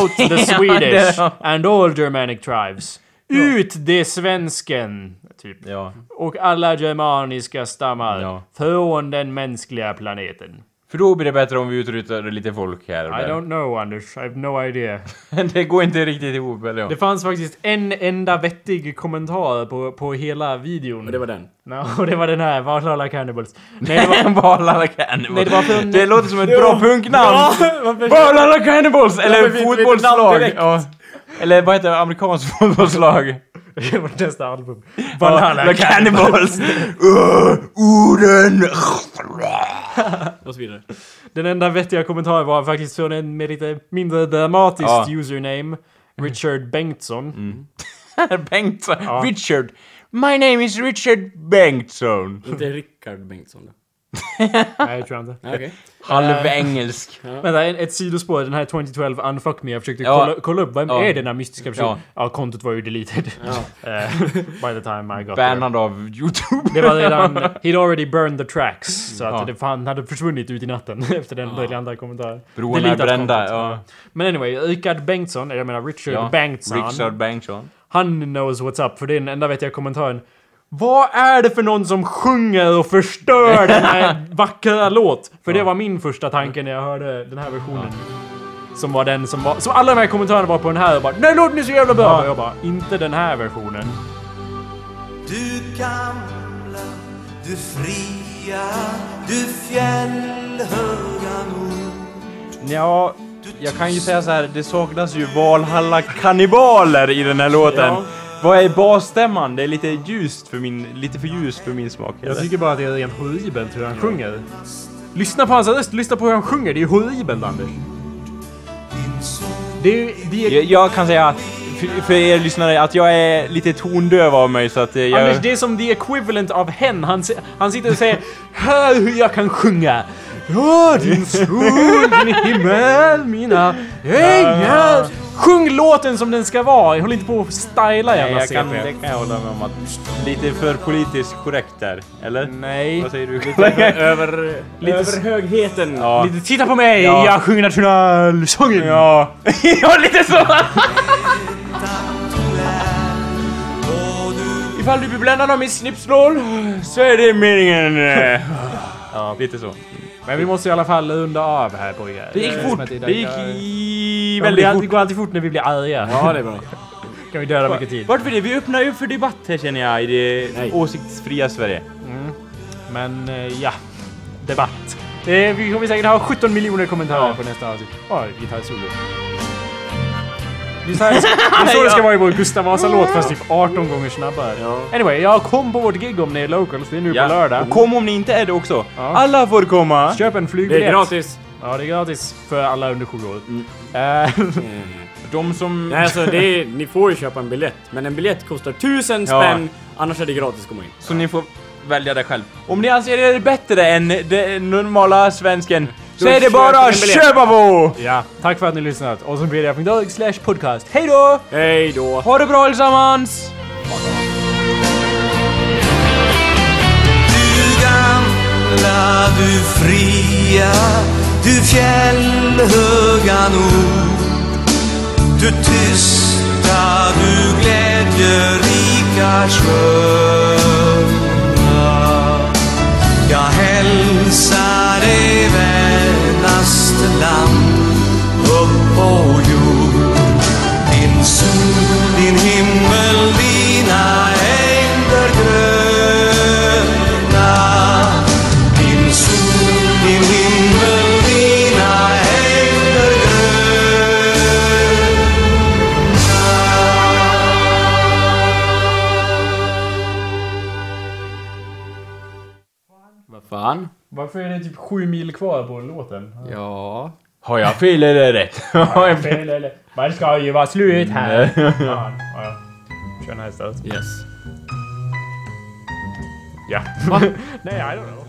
A: Out the Swedish and all Germanic tribes. Ut de svensken. Typ.
B: Ja.
A: Och alla germaniska stammar.
B: Ja.
A: Från den mänskliga planeten.
B: För då blir det bättre om vi utrutar lite folk här och
A: I don't know Anders, I have no idea.
B: där. Det går inte riktigt ihop, eller ja.
A: Det fanns faktiskt en enda vettig kommentar på, på hela videon.
F: Och det var den.
A: No, det var den här, Valhalla Cannibals. Nej, det var,
B: Valhalla Cannibals.
A: Nej, det var för-
B: Det låter som ett bra punknamn. Valhalla Cannibals! Eller fotbollslag. Ja. Eller vad heter det? Amerikanskt fotbollslag.
A: det var nästa album.
B: Valhalla Cannibals. Uh, Orden.
F: Och så vidare.
A: Den enda vettiga kommentaren var faktiskt från en med lite mindre dramatiskt
B: Ja. Mm.
A: username. Richard Bengtsson.
B: Bengtsson. Richard. My name is Richard Bengtsson.
F: Inte Rickard Bengtsson.
A: Nej, det tror jag inte.
F: Okej.
B: Halvengelsk.
A: Vänta, ett, ett sidospår. Den här 2012 Unfuck Me. Jag försökte
B: Ja.
A: kolla, kolla upp, vem
B: Ja.
A: är den här mystiska personen?
B: Ja.
A: Ja. kontot var ju deleted. Eh, By the time I got there.
B: Bannad av Youtube.
A: Det var redan... He'd already burned the tracks. Så att
B: Mm. Ja.
A: det fan hade försvunnit ut i natten efter den briljanta kommentaren.
B: Broarna är
A: Deletat
B: brända.
A: content.
B: Ja.
A: Men anyway, Richard Bengtsson, eller jag menar Richard
B: Ja.
A: Typ Bengtsson.
B: Richard Bengtsson.
A: Han knows what's up, för det är den enda vet jag kommentaren. Vad är det för någon som sjunger och förstör den här vackra låt? För det var min första tanke när jag hörde den här versionen. Som var den som var... Som alla de här kommentarerna var på den här och bara Nej låten är så jävla bra! Och jag bara Inte den här versionen.
H: Du gamla, du fria, du fjällhöga nord
B: Ja, jag kan ju säga så här. Det saknas ju Valhalla kannibaler i den här låten. Vad är basstämman? Det är lite ljust för min, lite för ljust för min smak. eller?
A: Jag tycker bara att det är rent horribelt hur han sjunger. Lyssna på hans röst, lyssna på hur han sjunger. Det är ju horribelt Anders. Det är ju... Det är,
B: Jag, jag kan säga för, för er lyssnare att jag är lite tondöv av mig så att eh, jag...
A: Anders, det är som the equivalent av hen. Han, se- han sitter och säger Hör hur jag kan sjunga! Ja, din sol, din himmel, mina ängar! Sjung låten som den ska vara! Håll inte på och styla
B: Nej,
A: jävla
B: jag kan,
A: CP.
B: det kan jag hålla med om att... Lite för politiskt korrekt där, eller?
A: Nej.
B: Vad säger du?
A: Över... Lite, s-
F: Över högheten.
B: ja.
A: lite, titta på mig!
B: Ja.
A: Jag sjunger nationalsången!
B: Ja. ja, lite så!
H: och du
B: Ifall du blir bländad av min snipsnål så är det meningen... eh. ja, lite så.
A: Men vi måste i alla fall runda av här pojkar.
B: Det gick fort. Det gick i...
A: väldigt
B: väldigt
A: fort. Det
B: fort.
A: går alltid fort när vi blir arga.
F: Ja, det är bra.
A: kan vi döda mycket tid.
B: Varför det? Vi öppnar ju för debatt här känner jag i det
F: Nej.
B: åsiktsfria Sverige.
A: Men eh, ja, debatt. Eh, vi kommer säkert ha 17 miljoner kommentarer på nästa avsnitt. Ja, gitarrsolo. Det är så här- det är så det ska vara i vår Gustav Vasa-låt fast typ 18 gånger snabbare. Anyway, jag kom på vårt gig om ni är locals. Det är nu på lördag.
B: Och kom om ni inte är det också. Alla får komma.
A: Köp en flygbiljett.
F: Det är gratis.
A: Ja, det är gratis för alla under sju år. Eh,
B: De som...
F: Nej, alltså det är, ni får ju köpa en biljett. Men en biljett kostar tusen
B: Ja.
F: spänn. Annars är det gratis att komma in.
B: Så ni får välja det själv. Om ni anser er bättre än den normala
A: Mm.
B: svensken så är det
F: köp
B: bara
F: en biljett.
B: Köpavo!
A: ja, tack för att ni har lyssnat. Awesomepdia.org slash podcast. Hej då!
F: Hej då!
B: Ha det bra allesammans!
H: Du gamla, du fria, du fjällhöga nord Du tysta, du glädjerika sköna Jag hälsar dig vänaste land upp på jord Din sol, din himmel, dina ängder gröna Din sol, din himmel, dina ängder gröna
F: Vad fan?
A: Varför är det typ sju mil kvar på låten?
F: Ja.
B: Har jag fel eller rätt?
A: Fel eller... Man ska ju vara slut här. Fan, ja. Kör den här istället.
F: Yes.
A: Nej, I don't know.